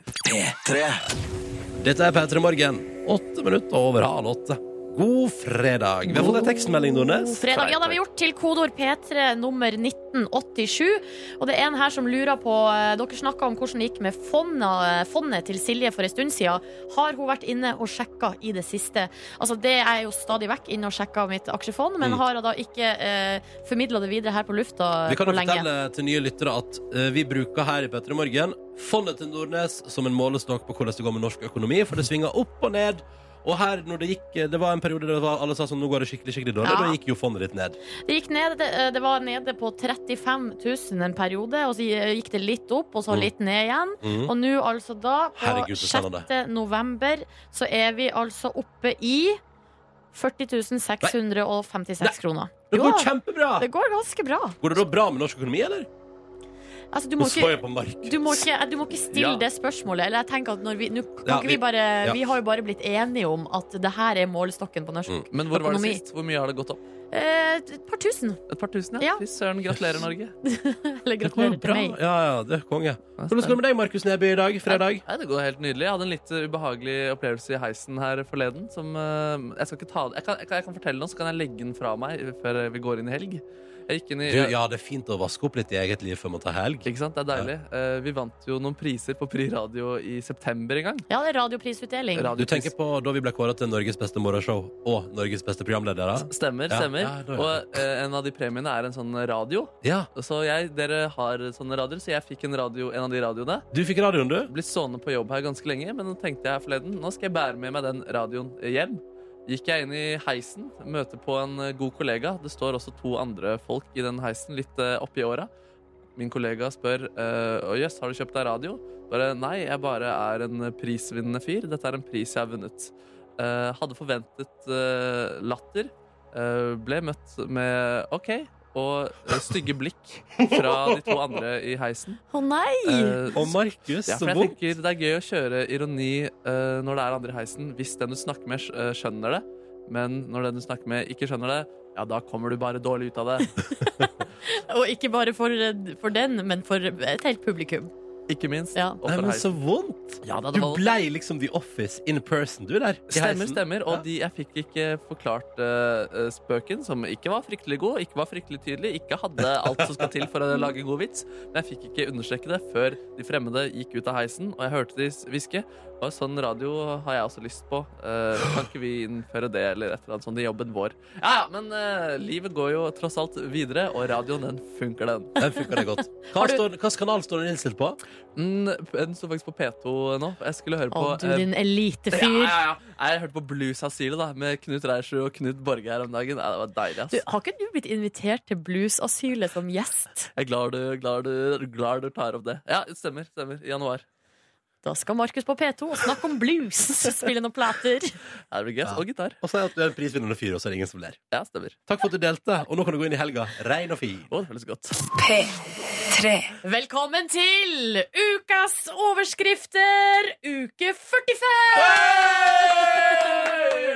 B: Dette er P3 Morgen. Åtte minutter over halv åtte. God fredag. Vi har fått en tekstmelding, Nordnes.
D: Fredag, ja, det har vi gjort til kodord P3 nummer 1987. Og det er en her som lurer på eh, Dere snakka om hvordan det gikk med fonna, eh, fondet til Silje for en stund siden. Har hun vært inne og sjekka i det siste? Altså, det er jeg jo stadig vekk inne og sjekka mitt aksjefond, men
B: Mm.
D: har hun da ikke eh, formidla det videre her på lufta
B: Vi kan jo
D: på lenge?
B: fortelle til nye lyttere at eh, vi bruker her i P3 Morgen fondet til Nordnes som en målestokk på hvordan det går med norsk økonomi, for det svinger opp og ned. Og her, når det gikk eh, Det var en periode der det var, alle sa sånn Nå går det skikkelig, skikkelig dårlig.
D: Ja.
B: Da gikk jo fondet ditt ned.
D: Det gikk ned, det, eh, det var nede på 35 000 en periode, og så gikk det litt opp, og så
B: Mm.
D: litt ned igjen.
B: Mm.
D: Og nå altså da, på
B: Herregud, så
D: 6.
B: spennende.
D: november, så er vi altså oppe i 40 656
B: Nei.
D: kroner.
B: Det
D: Jo
B: går
D: da,
B: kjempebra!
D: det går ganske bra.
B: Går det da bra med norsk økonomi, eller?
D: Altså, du
B: Nå
D: må
B: så
D: ikke
B: jeg på Markus.
D: du må, ikke, eh, du må ikke stille
C: Ja.
D: det spørsmålet. Eller jeg tenker at når vi, nå kan
B: Ja,
D: ikke
B: vi-
D: vi, bare,
B: ja.
D: vi har jo bare blitt enige om at det her er målestokken på norsk
B: Mm.
C: Men hvor var det
D: Økonomi.
C: sist? Hvor mye har det gått opp?
D: Eh, et par tusen.
C: Et par tusen, ja.
D: Ja.
C: Fy søren. Gratulerer, Norge.
B: Det
D: Eller
B: går
D: gratulerer til
B: bra.
D: meg.
B: Ja, ja, det er konge. Hvordan går det med deg, Markus Neby, i dag? Fredag?
C: Nei, det går helt nydelig. Jeg hadde en litt uh, ubehagelig opplevelse i heisen her forleden. Som, uh, jeg, skal ikke ta, jeg, kan, jeg, kan, jeg kan fortelle den, så kan jeg legge den fra meg før vi går inn i helg. Jeg gikk inn i...
B: Du, ja, det er fint å vaske opp litt i eget liv før man tar helg.
C: Ikke sant? Det er deilig. Eh, vi vant jo noen priser på Pri Radio i september en gang.
D: Ja, det er radioprisutdeling.
C: Radio
B: Du tenker på da vi ble kåret til Norges beste morgenshow og Norges beste programledere?
C: Stemmer,
B: Ja,
C: stemmer.
B: ja, da gjør
C: Og eh, en av de premiene er en sånn radio.
B: Ja.
C: Så jeg, dere har sånne radioer, så jeg fikk en, radio, en av de radioene.
B: Du fikk radioen, du?
C: Blitt stående på jobb her ganske lenge, men nå tenkte jeg forleden nå skal jeg bære med meg den radioen hjem. Gikk jeg inn i heisen, møter på en eh, god kollega. Det står også to andre folk i den heisen, litt eh, oppi åra. Min kollega spør eh, «Å, jøss, har du kjøpt deg radio. Bare nei, jeg bare er en prisvinnende fyr. Dette er en pris jeg har vunnet. Eh, hadde forventet eh, latter. Eh, ble møtt med OK og eh, stygge blikk fra de to andre i heisen.
D: Å nei!
C: Eh,
B: Og Markus,
C: ja,
B: så
C: for jeg
B: vondt.
C: tenker Det er gøy å kjøre ironi eh, når det er andre i heisen, hvis den du snakker med, eh, skjønner det. Men når den du snakker med, ikke skjønner det, ja, da kommer du bare dårlig ut av det.
D: Og ikke bare for, eh, for den, men for et helt publikum.
C: Ikke minst.
D: Ja.
C: Og
B: Nei,
C: for
B: men
C: heisen.
B: så vondt!
C: Ja, det
B: Du
C: hadde valgt-
B: blei liksom The Office in person, du der. i
C: Stemmer,
B: heisen.
C: stemmer.
B: Ja.
C: Og de, jeg fikk ikke forklart eh, eh, spøken, som ikke var fryktelig god, ikke var fryktelig tydelig, ikke hadde alt som skal til for å lage god vits. Men jeg fikk ikke understreke det før de fremmede gikk ut av heisen, og jeg hørte de hviske. Og sånn radio har jeg også lyst på. Eh, kan ikke vi innføre det, eller et eller annet sånt i jobben vår? Ja, ja, men eh, livet går jo tross alt videre, og radioen, den funker, den.
B: Den funka det godt. Hva
D: Har du-
B: står, hvilken kanal står den innstilt på?
C: Mm, den står faktisk på P2 nå. Jeg skulle høre
D: Å,
C: på
D: du
C: eh,
D: din
C: ja,
D: elitefyr.
C: ja, ja. Nei, Jeg hørte på Blues Asile da, med Knut Reirsjø og Knut Borge her om dagen. Nei, det var deilig,
D: Du,
C: ass.
D: har ikke du blitt invitert til bluesasylet som gjest?
C: Jeg er glad du, glad, du, glad du tar opp det. Ja, stemmer. stemmer. I januar.
D: Da skal Markus på P2 og snakke om blues. Spille noen plater.
C: Ja, det blir gøy. ass. Og gitar.
B: Og si at du er en prisvinnende fyr, og så er det ingen som ler.
C: Ja, stemmer.
B: Takk for at du delte, og nå kan du gå inn i helga rein og fin.
C: Å, det føles godt.
D: Velkommen til ukas overskrifter, uke 45!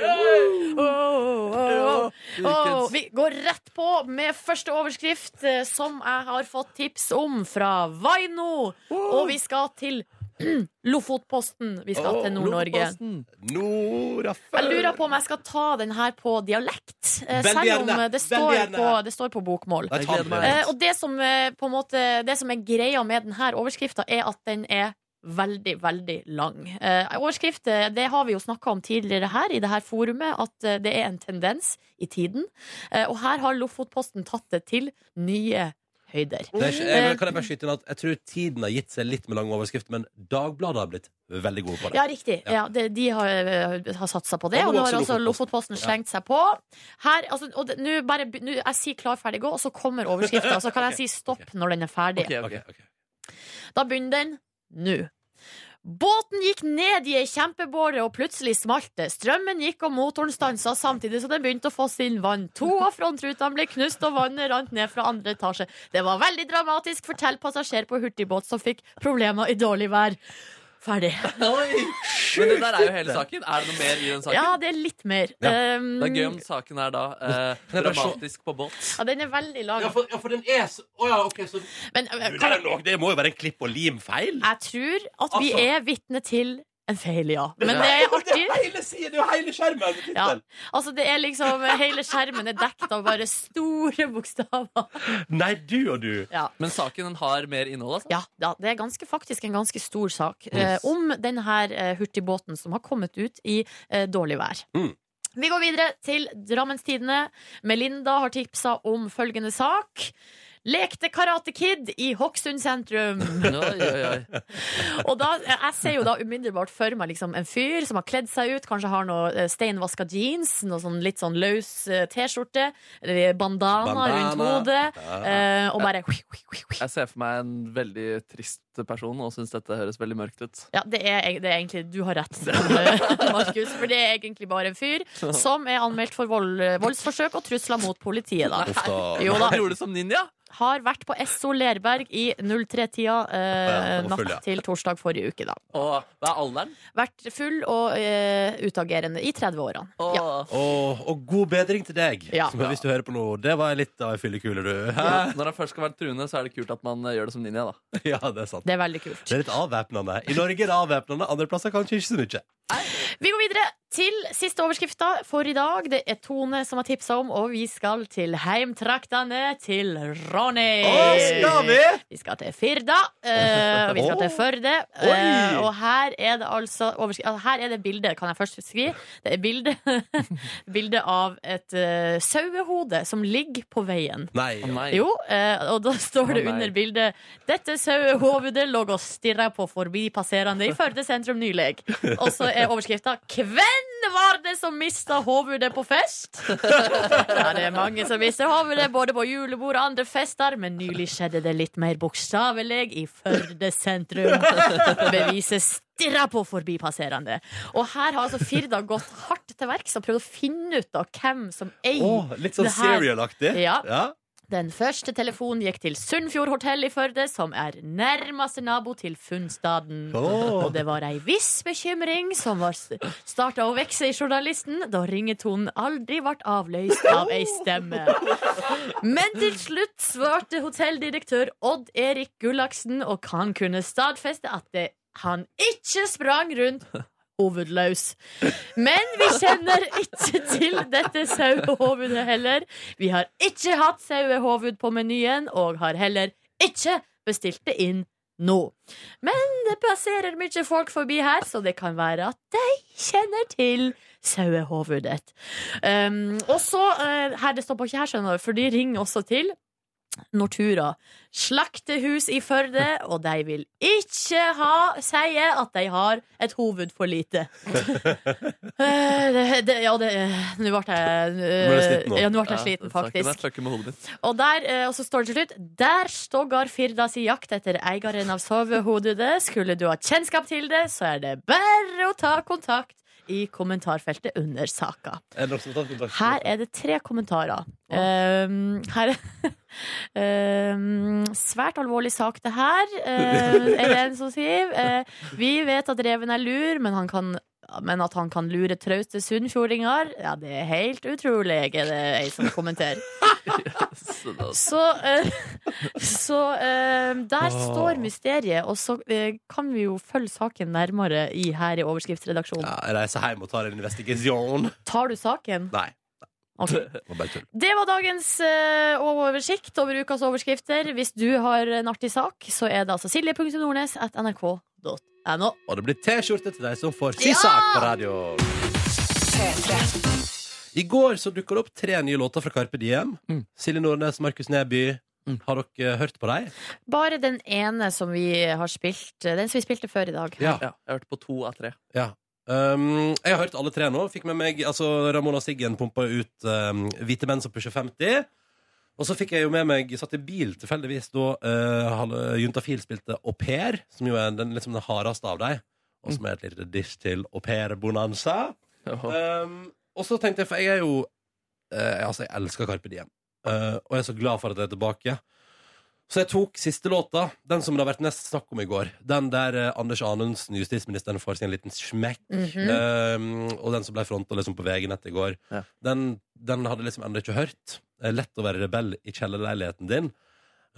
D: Åh, åh, åh. Åh,
C: Ukens
D: vi går rett på med første overskrift, eh, som jeg har fått tips om fra Vaino. Og vi skal til Lofotposten. Vi skal
B: Åh,
D: til Nord-Norge.
C: Lofotposten.
B: Nora
D: Jeg lurer på om jeg skal ta den her på dialekt, eh,
B: Veldig
D: selv om
B: gjerne.
D: eh, det står
B: Veldig gjerne.
D: på, det står på bokmål.
B: Nei, ta
C: Jeg gleder
B: den
C: meg.
B: med.
D: Eh, og det som, eh, på en måte, det som er greia med denne overskrifta, er at den er veldig, veldig lang. Eh, overskrift eh, det har vi jo snakka om tidligere her, i det her forumet, at eh, det er en tendens i tiden. Eh, og her har Lofotposten tatt det til nye høyder.
B: Det er ikke, jeg, kan jeg bare skyte inn at jeg tror tiden har gitt seg litt med lange overskrifter, men Dagbladet har blitt veldig gode på det.
D: Ja, riktig. Ja. det, de har, eh, har satsa på det.
B: Og nå
D: Og nå
B: også
D: har altså
B: Lofotposten.
D: Lofotposten slengt seg på. Her, altså, og det- nå bare, be- nå- jeg sier 'klar, ferdig, gå', og så kommer overskrifta. Så kan jeg si stopp når den er ferdig.
C: Ok, ok.
B: Ok, ok.
D: Da begynner den nå. Båten gikk ned i ei kjempebåre, og plutselig smalt det. Strømmen gikk, og motoren stansa samtidig som den begynte å fosse inn vann. To av frontrutene ble knust, og vannet rant ned fra andre etasje. Det var veldig dramatisk, forteller passasjer på hurtigbåt som fikk problemer i dårlig vær. Ferdig.
C: Oi! Men det der er jo hele saken. Er det noe mer i den saken?
D: Ja, det er litt mer.
B: Ja,
D: Um,
C: Det er gøy om saken er da eh,
B: Men jeg bare så-
C: dramatisk på båt.
D: ja, den er veldig lang.
B: Ja, for, ja, for den er så Å ja, OK, så
D: Men uh,
B: Du, det,
D: kan,
B: er nok, det må jo være en klipp- og limfeil.
D: jeg tror at vi
B: Altså.
D: er vitne til en feil, ja. Men det er artig.
B: hele siden, det er jo hele skjermen! med
D: Ja.
B: tittelen.
D: Altså, det er liksom Hele skjermen er dekket av bare store bokstaver.
B: Nei, du og du.
D: Ja.
C: Men saken den har mer innhold, altså.
D: Ja, da, Det er ganske, faktisk en ganske stor sak
B: Mm.
D: eh, om denne her, eh, hurtigbåten som har kommet ut i eh, dårlig vær.
B: Mm.
D: Vi går videre til Drammenstidene. Melinda har tipsa om følgende sak. Lekte Karate Kid i Hokksund sentrum.
C: Oi, oi, oi.
D: Og da, eh, jeg ser jo da umiddelbart for meg liksom, en fyr som har kledd seg ut, kanskje har noe eh, steinvaska jeans, noe sånn litt sånn løs eh, T-skjorte, eller bandana, rundt
B: Bandana.
D: hodet, eh, og bare
C: Jeg ser for meg en veldig trist person og syns dette høres veldig mørkt ut.
D: Ja, det er, det er egentlig Du har rett, Markus, for det er egentlig bare en fyr som er anmeldt for vold, voldsforsøk og trusler mot politiet, da.
B: Uff da.
D: Jo da.
C: Gjorde det som ninja?
D: har vært på SO Lerberg i 03-tida eh,
B: Ja, og full,
D: natt
B: ja.
D: til torsdag forrige uke, da.
C: Og hva er alderen?
D: Vært full og eh, utagerende i 30-årene.
C: Åh,
D: Ja.
B: Og, og god bedring til deg,
D: Ja.
B: som, hvis du hører på noe. Det var litt av ei fyllekule, du. Hæ?
C: Når han først skal være truende, så er det kult at man eh, gjør det som ninja. da
B: Ja, det er sant.
D: Det er veldig kult.
B: Det er litt avvæpnende. I Norge er det avvæpnende, andre plasser kanskje ikke så mye.
D: Vi går videre til siste overskrifta for i dag. Det er Tone som har tipsa om, og vi skal til heimtraktene til Ronny. Vi skal til Firda, eh, og vi skal til Førde. eh, og her er det altså overskri- altså, Her er det bilde, kan jeg først skrive. Det er bilde, bilde av et eh, sauehode som ligger på veien.
B: Nei.
C: Å nei.
D: Jo, eh, og da står det
C: Å, nei.
D: under bildet 'Dette sauehovedet lå og stirra på forbipasserende i Førde sentrum nylig'. Og så er overskrifta 'Hvem var det som mista hovedet på fest?' Ja, det er mange som mister hovedet både på julebord og andre fester, men nylig skjedde det litt mer bokstavelig i Førde sentrum. Beviset stirra på forbipasserende. Og her har altså Firda gått hardt til verks og prøvd å finne ut av hvem som eier
B: Åh, litt sånn
D: Det her-
B: serial-aktig.
D: Ja.
B: Ja.
D: den første telefonen gikk til Sunnfjord hotell i Førde, som er nærmeste nabo til funnstaden.
B: Åh.
D: Og det var ei viss bekymring som var starta å vokse i journalisten da ringetonen aldri ble avløst av ei stemme. Men til slutt svarte hotelldirektør Odd Erik Gullaksen, og han kunne stadfeste at det, han ikke sprang rundt hovedløs. Men vi kjenner ikke til dette sauehovedet heller. Vi har ikke hatt sauehoved på menyen, og har heller ikke bestilt det inn nå. Men det passerer mye folk forbi her, så det kan være at de kjenner til sauehovedet. Um, og så, eh, her det står på ikke her, skjønner du, for de ringer også til Nortura. Slaktehus i Førde, og de vil ikke ha sie at de har et hoved for lite. Eh, det, det, ja, det Nå ble jeg eh,
B: Nå ble jeg sliten nå.
D: ja, nå ble jeg
C: Ja,
D: sliten,
C: saken er
D: faktisk.
C: trøkke med hodet ditt.
D: Og der, eh, og så står det til slutt Der stoggar Firda si jakt etter eieren av sovehodet. Skulle du ha kjennskap til det, så er det bare å ta kontakt i kommentarfeltet under saka.
B: Er det noen som har tatt kontakt?
D: Her er det tre kommentarer. Um, her um, Svært alvorlig sak, det her, uh, er det en som sier. Eh, vi vet at reven er lur, men, han kan, men at han kan lure trauste sunnfjordinger, ja, det er helt utrolig, er det ei som kommenterer.
C: Så da-
D: Så, eh, så eh, der står mysteriet, og så eh, kan vi jo følge saken nærmere i, her i overskriftsredaksjonen.
B: Ja, jeg reiser hjem og tar en investigation.
D: Tar du saken?
B: Nei.
D: Ok.
B: Det var bare tull.
D: Det var dagens eh, oversikt over ukas overskrifter. Hvis du har en artig sak, så er det altså silje.nordnes at nrk.no.
B: Og det blir T-skjorte til deg som får si sak på radio. I går så dukka det opp tre nye låter fra Carpe Diem.
C: Mm.
B: Silje Nordnes, Markus Neby. Har dere hørt på dem?
D: Bare den ene som vi har spilt, eh, den som vi spilte før i dag.
C: Ja, jeg hørte på to av tre.
B: Um, jeg har hørt alle tre nå. Fikk med meg, altså Ramona Siggen pumpa ut um, 'Hvite menn som pusher 50'. Og så fikk jeg jo med meg, satt i bil tilfeldigvis da uh, halve- Juntafil spilte Au Pair, som jo er den, liksom den hardeste av dem, og
C: Mm.
B: som er et lite dish til au pair-bonanza. Um, og så tenkte jeg, for jeg er jo eh, Altså, jeg elsker Carpe Diem. Eh, og jeg er så glad for at jeg er tilbake. Så jeg tok siste låta, den som det har vært mest snakk om i går. Den der eh, Anders Anundsen, justisministeren, får sin liten smekk.
D: Mhm.
B: Um, og den som ble fronta liksom på VG-nett i går,
C: Ja.
B: den, den hadde liksom ennå ikke hørt. Det er lett å være rebell i kjellerleiligheten din.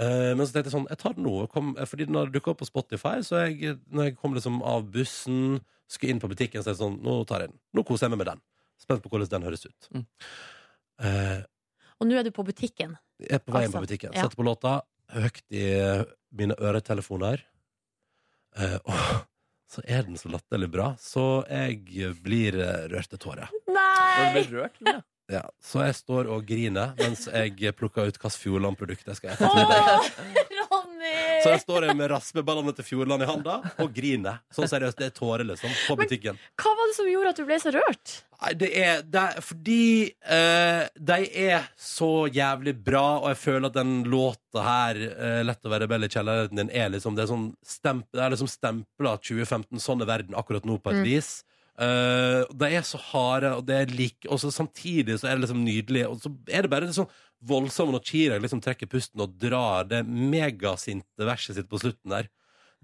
B: Eh, men så tenkte jeg sånn, jeg tar den nå. og Kom, fordi den har dukka opp på Spotify. Så jeg, når jeg kom liksom av bussen, skulle inn på butikken, så er jeg sånn, nå tar jeg den. Nå koser jeg meg med den. Spent på hvordan den høres ut.
C: Mm.
B: Eh,
D: Og nå er du på butikken.
B: jeg er på veien
D: Altså,
B: på butikken.
D: ja.
B: Setter på låta, høyt i eh, mine øretelefoner. Eh, og så er den så latterlig bra, så jeg blir eh, rørt til tårer.
C: Men
D: Nei!
C: du ble rørt? Linnea?
B: Ja, så jeg står og griner mens jeg plukker ut hvilket Fjordland-produkt jeg skal
D: Å,
B: ete. Så
D: Ronny!
B: jeg står her med raspeballene til Fjordland i handa og griner. Sånn seriøst, det er tårer, liksom, på
D: Men-
B: butikken.
D: Hva var det som gjorde at du ble så rørt?
B: Nei, det er, det er fordi eh, de er så jævlig bra, og jeg føler at den låta her, eh, 'Lett å være rebell i kjelleren din', er liksom Det er, sånn stemp, det er liksom stempla 2015, sånn er verden akkurat nå, på et
D: Mm.
B: vis. Eh, og de er så harde, og det er lik Og så samtidig så er det liksom nydelig. Og så er det bare litt sånn voldsomt når Chirag liksom trekker pusten og drar det megasinte verset sitt på slutten der.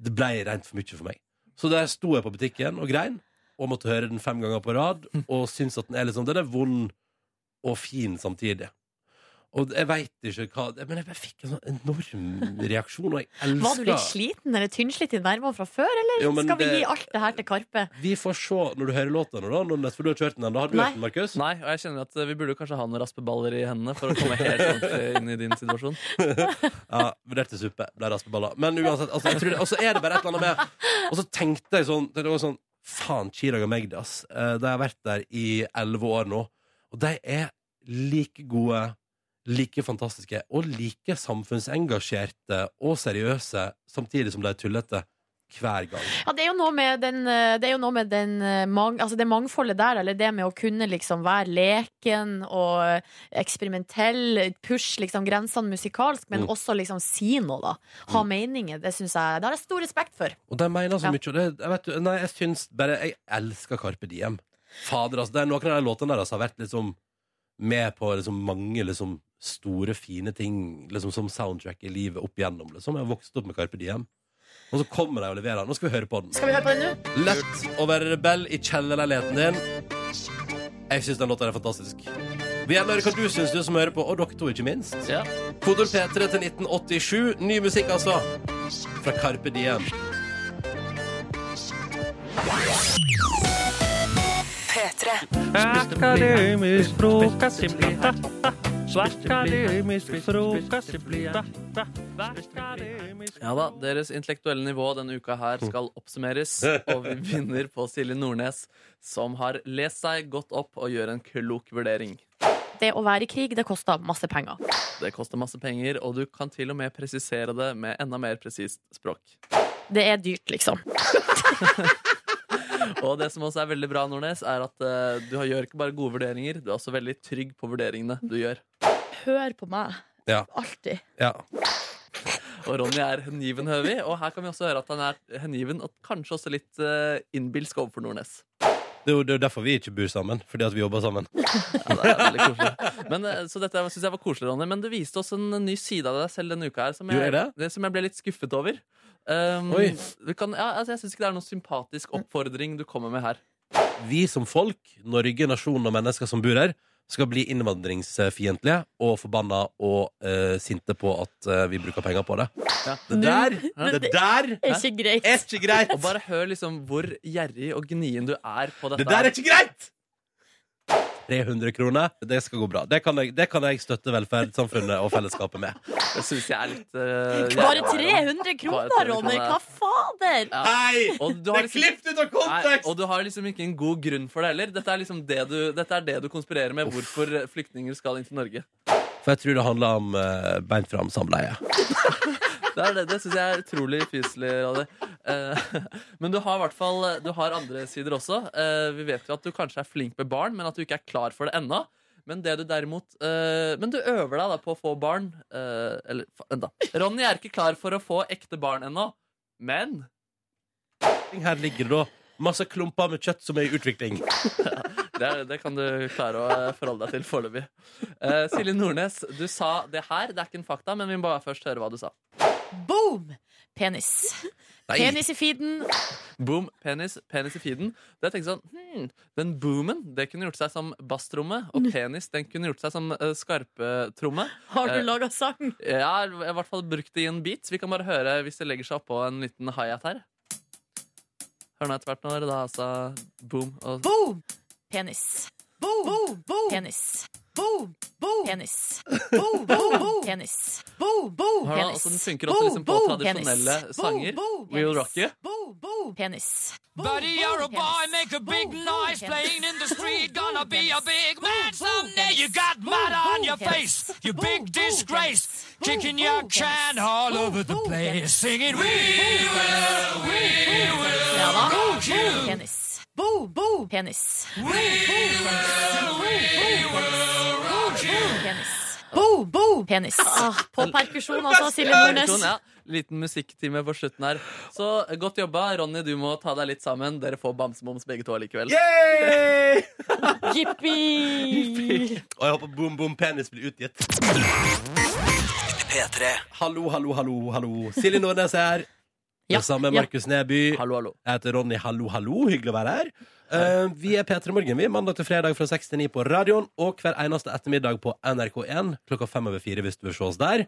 B: Det blei rent for mye for meg. Så der sto jeg på butikken og grein, og måtte høre den fem ganger på rad, og syns at den er liksom Den er vond og fin samtidig. Og jeg veit ikke hva Men jeg bare fikk en sånn enorm reaksjon, og jeg elsker
D: Var du litt sliten eller tynnslitt i nervene fra før, eller
B: Jo, men
D: skal vi
B: det-
D: gi alt det her til Karpe?
B: Vi får se når du hører låta nå, da. Når neste- For du har ikke hørt den ennå. Har du
D: Nei.
B: hørt den, Markus?
C: Nei, og jeg kjenner at eh, vi burde kanskje ha noen raspeballer i hendene for å komme helt ordentlig inn i din situasjon.
B: Ja, vurderte suppe. Ble raspeballer. Men uansett, altså, jeg tror det, og så er det bare et eller annet med Og så tenkte jeg sånn, det var sånn Faen, Chirag og Magdi, ass. Eh, De har vært der i elleve år nå. Og de er like gode, like fantastiske og like samfunnsengasjerte og seriøse, samtidig som de er tullete hver gang.
D: Ja, det er jo noe med, den, eh, det, er jo noe med den, eh, mang, altså det mangfoldet der, eller det med å kunne liksom være leken og eh, eksperimentell, pushe liksom grensene musikalsk, men
B: Mm.
D: også liksom si noe, da. Ha meninger. Det syns jeg Det har jeg stor respekt for.
B: Og de mener så
D: Ja.
B: mye. Og det, jeg vet, du- nei, jeg syns bare Jeg elsker Carpe Diem. Fader, altså. Det er noen av de låtene der altså, har vært liksom med på liksom, mange liksom, store, fine ting liksom, som soundtrack i livet opp igjennom. Liksom. Jeg har vokst opp med Carpe Diem. Og så kommer de og leverer. Nå skal vi høre på den.
D: Skal vi høre på den nå?
B: Lett å være rebell i kjellerleiligheten din. Jeg syns den låta er fantastisk. Vi gjerne hører hva du syns, du som hører på, og dere to, ikke minst.
C: Ja.
B: Kodord P3 til 1987. Ny musikk, altså. Fra Carpe Diem.
H: Akademisk frokost i blida. Akademisk frokost i blida.
C: Ja da, Deres intellektuelle nivå denne uka her skal oppsummeres. Og vi begynner på Silje Nordnes, som har lest seg godt opp og gjør en klok vurdering.
D: Det å være i krig, det koster masse penger.
C: Det koster masse penger, og du kan til og med presisere det med enda mer presist språk.
D: Det er dyrt, liksom.
C: Og det som også er veldig bra, Nordnes, er at eh, du har- gjør ikke bare gode vurderinger, du er også veldig trygg på vurderingene du gjør.
D: Hør på meg.
B: Ja.
D: Alltid.
B: Ja.
C: Og Ronny er hengiven høvig, og her kan vi også høre at han er hengiven og kanskje også litt eh, innbilsk overfor Nordnes.
B: Det er jo det er jo derfor vi ikke bor sammen. Fordi at vi jobber sammen.
C: Ja, det er veldig koselig. Men, eh, så dette synes jeg var koselig, Ronny. Men det viste oss en ny side av deg selv denne uka her, som jeg,
B: Gjorde jeg
C: som jeg ble litt skuffet over. Um,
B: Oi.
C: du kan, ja, altså, jeg syns ikke det er noen sympatisk oppfordring du kommer med her.
B: Vi som folk, Norge, nasjonen og mennesker som bor her, skal bli innvandringsfiendtlige og forbanna og eh, sinte på at eh, vi bruker penger på det.
C: Ja.
B: Det der, det der
D: Er ikke greit.
B: er ikke greit!
C: Og bare hør liksom hvor gjerrig og gnien du er på dette.
B: Det der
C: her.
B: er ikke greit! 300 kroner, det skal gå bra. Det kan jeg, det kan jeg støtte velferdssamfunnet og fellesskapet med.
C: Det synes jeg er litt eh,
D: Bare
C: gjerrig.
D: 300 kroner,
C: Bare 300
D: Ronny!
C: kroner.
D: Hva fader?
C: Ja.
B: Nei!
C: Og du
B: Det
C: har
B: er
C: liksom,
B: klippet ut av
C: nei,
B: kontekst!
C: og du har liksom ikke en god grunn for det heller. Dette er liksom det du, dette er det du konspirerer med hvorfor flyktninger skal inn til Norge.
B: For jeg tror det handler om eh, beint fram samleie.
C: Det, er det, det syns jeg er utrolig fyselig. Radi. Eh, men du har i hvert fall Du har andre sider også. Eh, vi vet jo at du kanskje er flink med barn, men at du ikke er klar for det ennå. Men det du derimot eh, Men du øver deg da på å få barn. eh, eller fa- vent da. Ronny er ikke klar for å få ekte barn ennå. Men
B: Her ligger det da masse klumper med kjøtt som er i utvikling.
C: det, er- det kan du klare å eh, forholde deg til foreløpig. Eh, Silje Nordnes, du sa det her. Det er ikke en fakta, men vi må bare først høre hva du sa.
D: Boom! Penis.
B: Nei.
D: Penis i feeden.
C: Boom, penis, penis i feeden. Da tenkte jeg sånn, hmm, Den boomen det kunne gjort seg som basstromme,
D: Mm.
C: og penis den kunne gjort seg som uh, skarpetromme.
D: Har du
C: Eh,
D: laga sang?
C: Jeg har i hvert fall brukt det i en beat. Vi kan bare høre hvis det legger seg oppå en liten high-hat her. Hør nå etter hvert når det da altså boom og
D: Boom! Penis. Boom, boom, boom. Penis. Boom, boom. Penis. Boom, boom, boom. Penis. Boom, boom.
C: Hør nå,
D: Penis.
C: altså, den funker også liksom på tradisjonelle sanger. We Will Rock You.
D: Boom, boom. Penis.
I: Buddy, you're a boy, make a big noise playing in the street. Gonna be a big man someday. You got mud on your face, you big disgrace. Kicking your can all over the place, singing, We will, we
D: Ja da.
I: will rock you.
D: Penis. Boom, boom. Penis.
I: We will, we will rock you.
D: Penis. Boom, boom. Penis. Ah, på Ah, perkusjon, altså, Silje Nordnes.
C: Sånn, ja. liten musikktime på slutten her. Så eh, godt jobba. Ronny, du må ta deg litt sammen. Dere får bamseboms begge to allikevel.
B: Yay!
D: Jippi!
B: Og jeg håper Boom Boom Penis blir utgitt. Hallo, hallo, hallo. hallo Silje Nordnes er her.
D: Ja,
B: Det samme er
D: ja.
B: Markus Neby.
C: Hallo, hallo.
B: Jeg heter Ronny Hallo Hallo. Hyggelig å være her. Eh, vi er P3 Morgen, vi. Mandag til fredag fra 6 til 9 på radioen. Og hver eneste ettermiddag på NRK1 klokka fem over fire hvis du vil se oss der.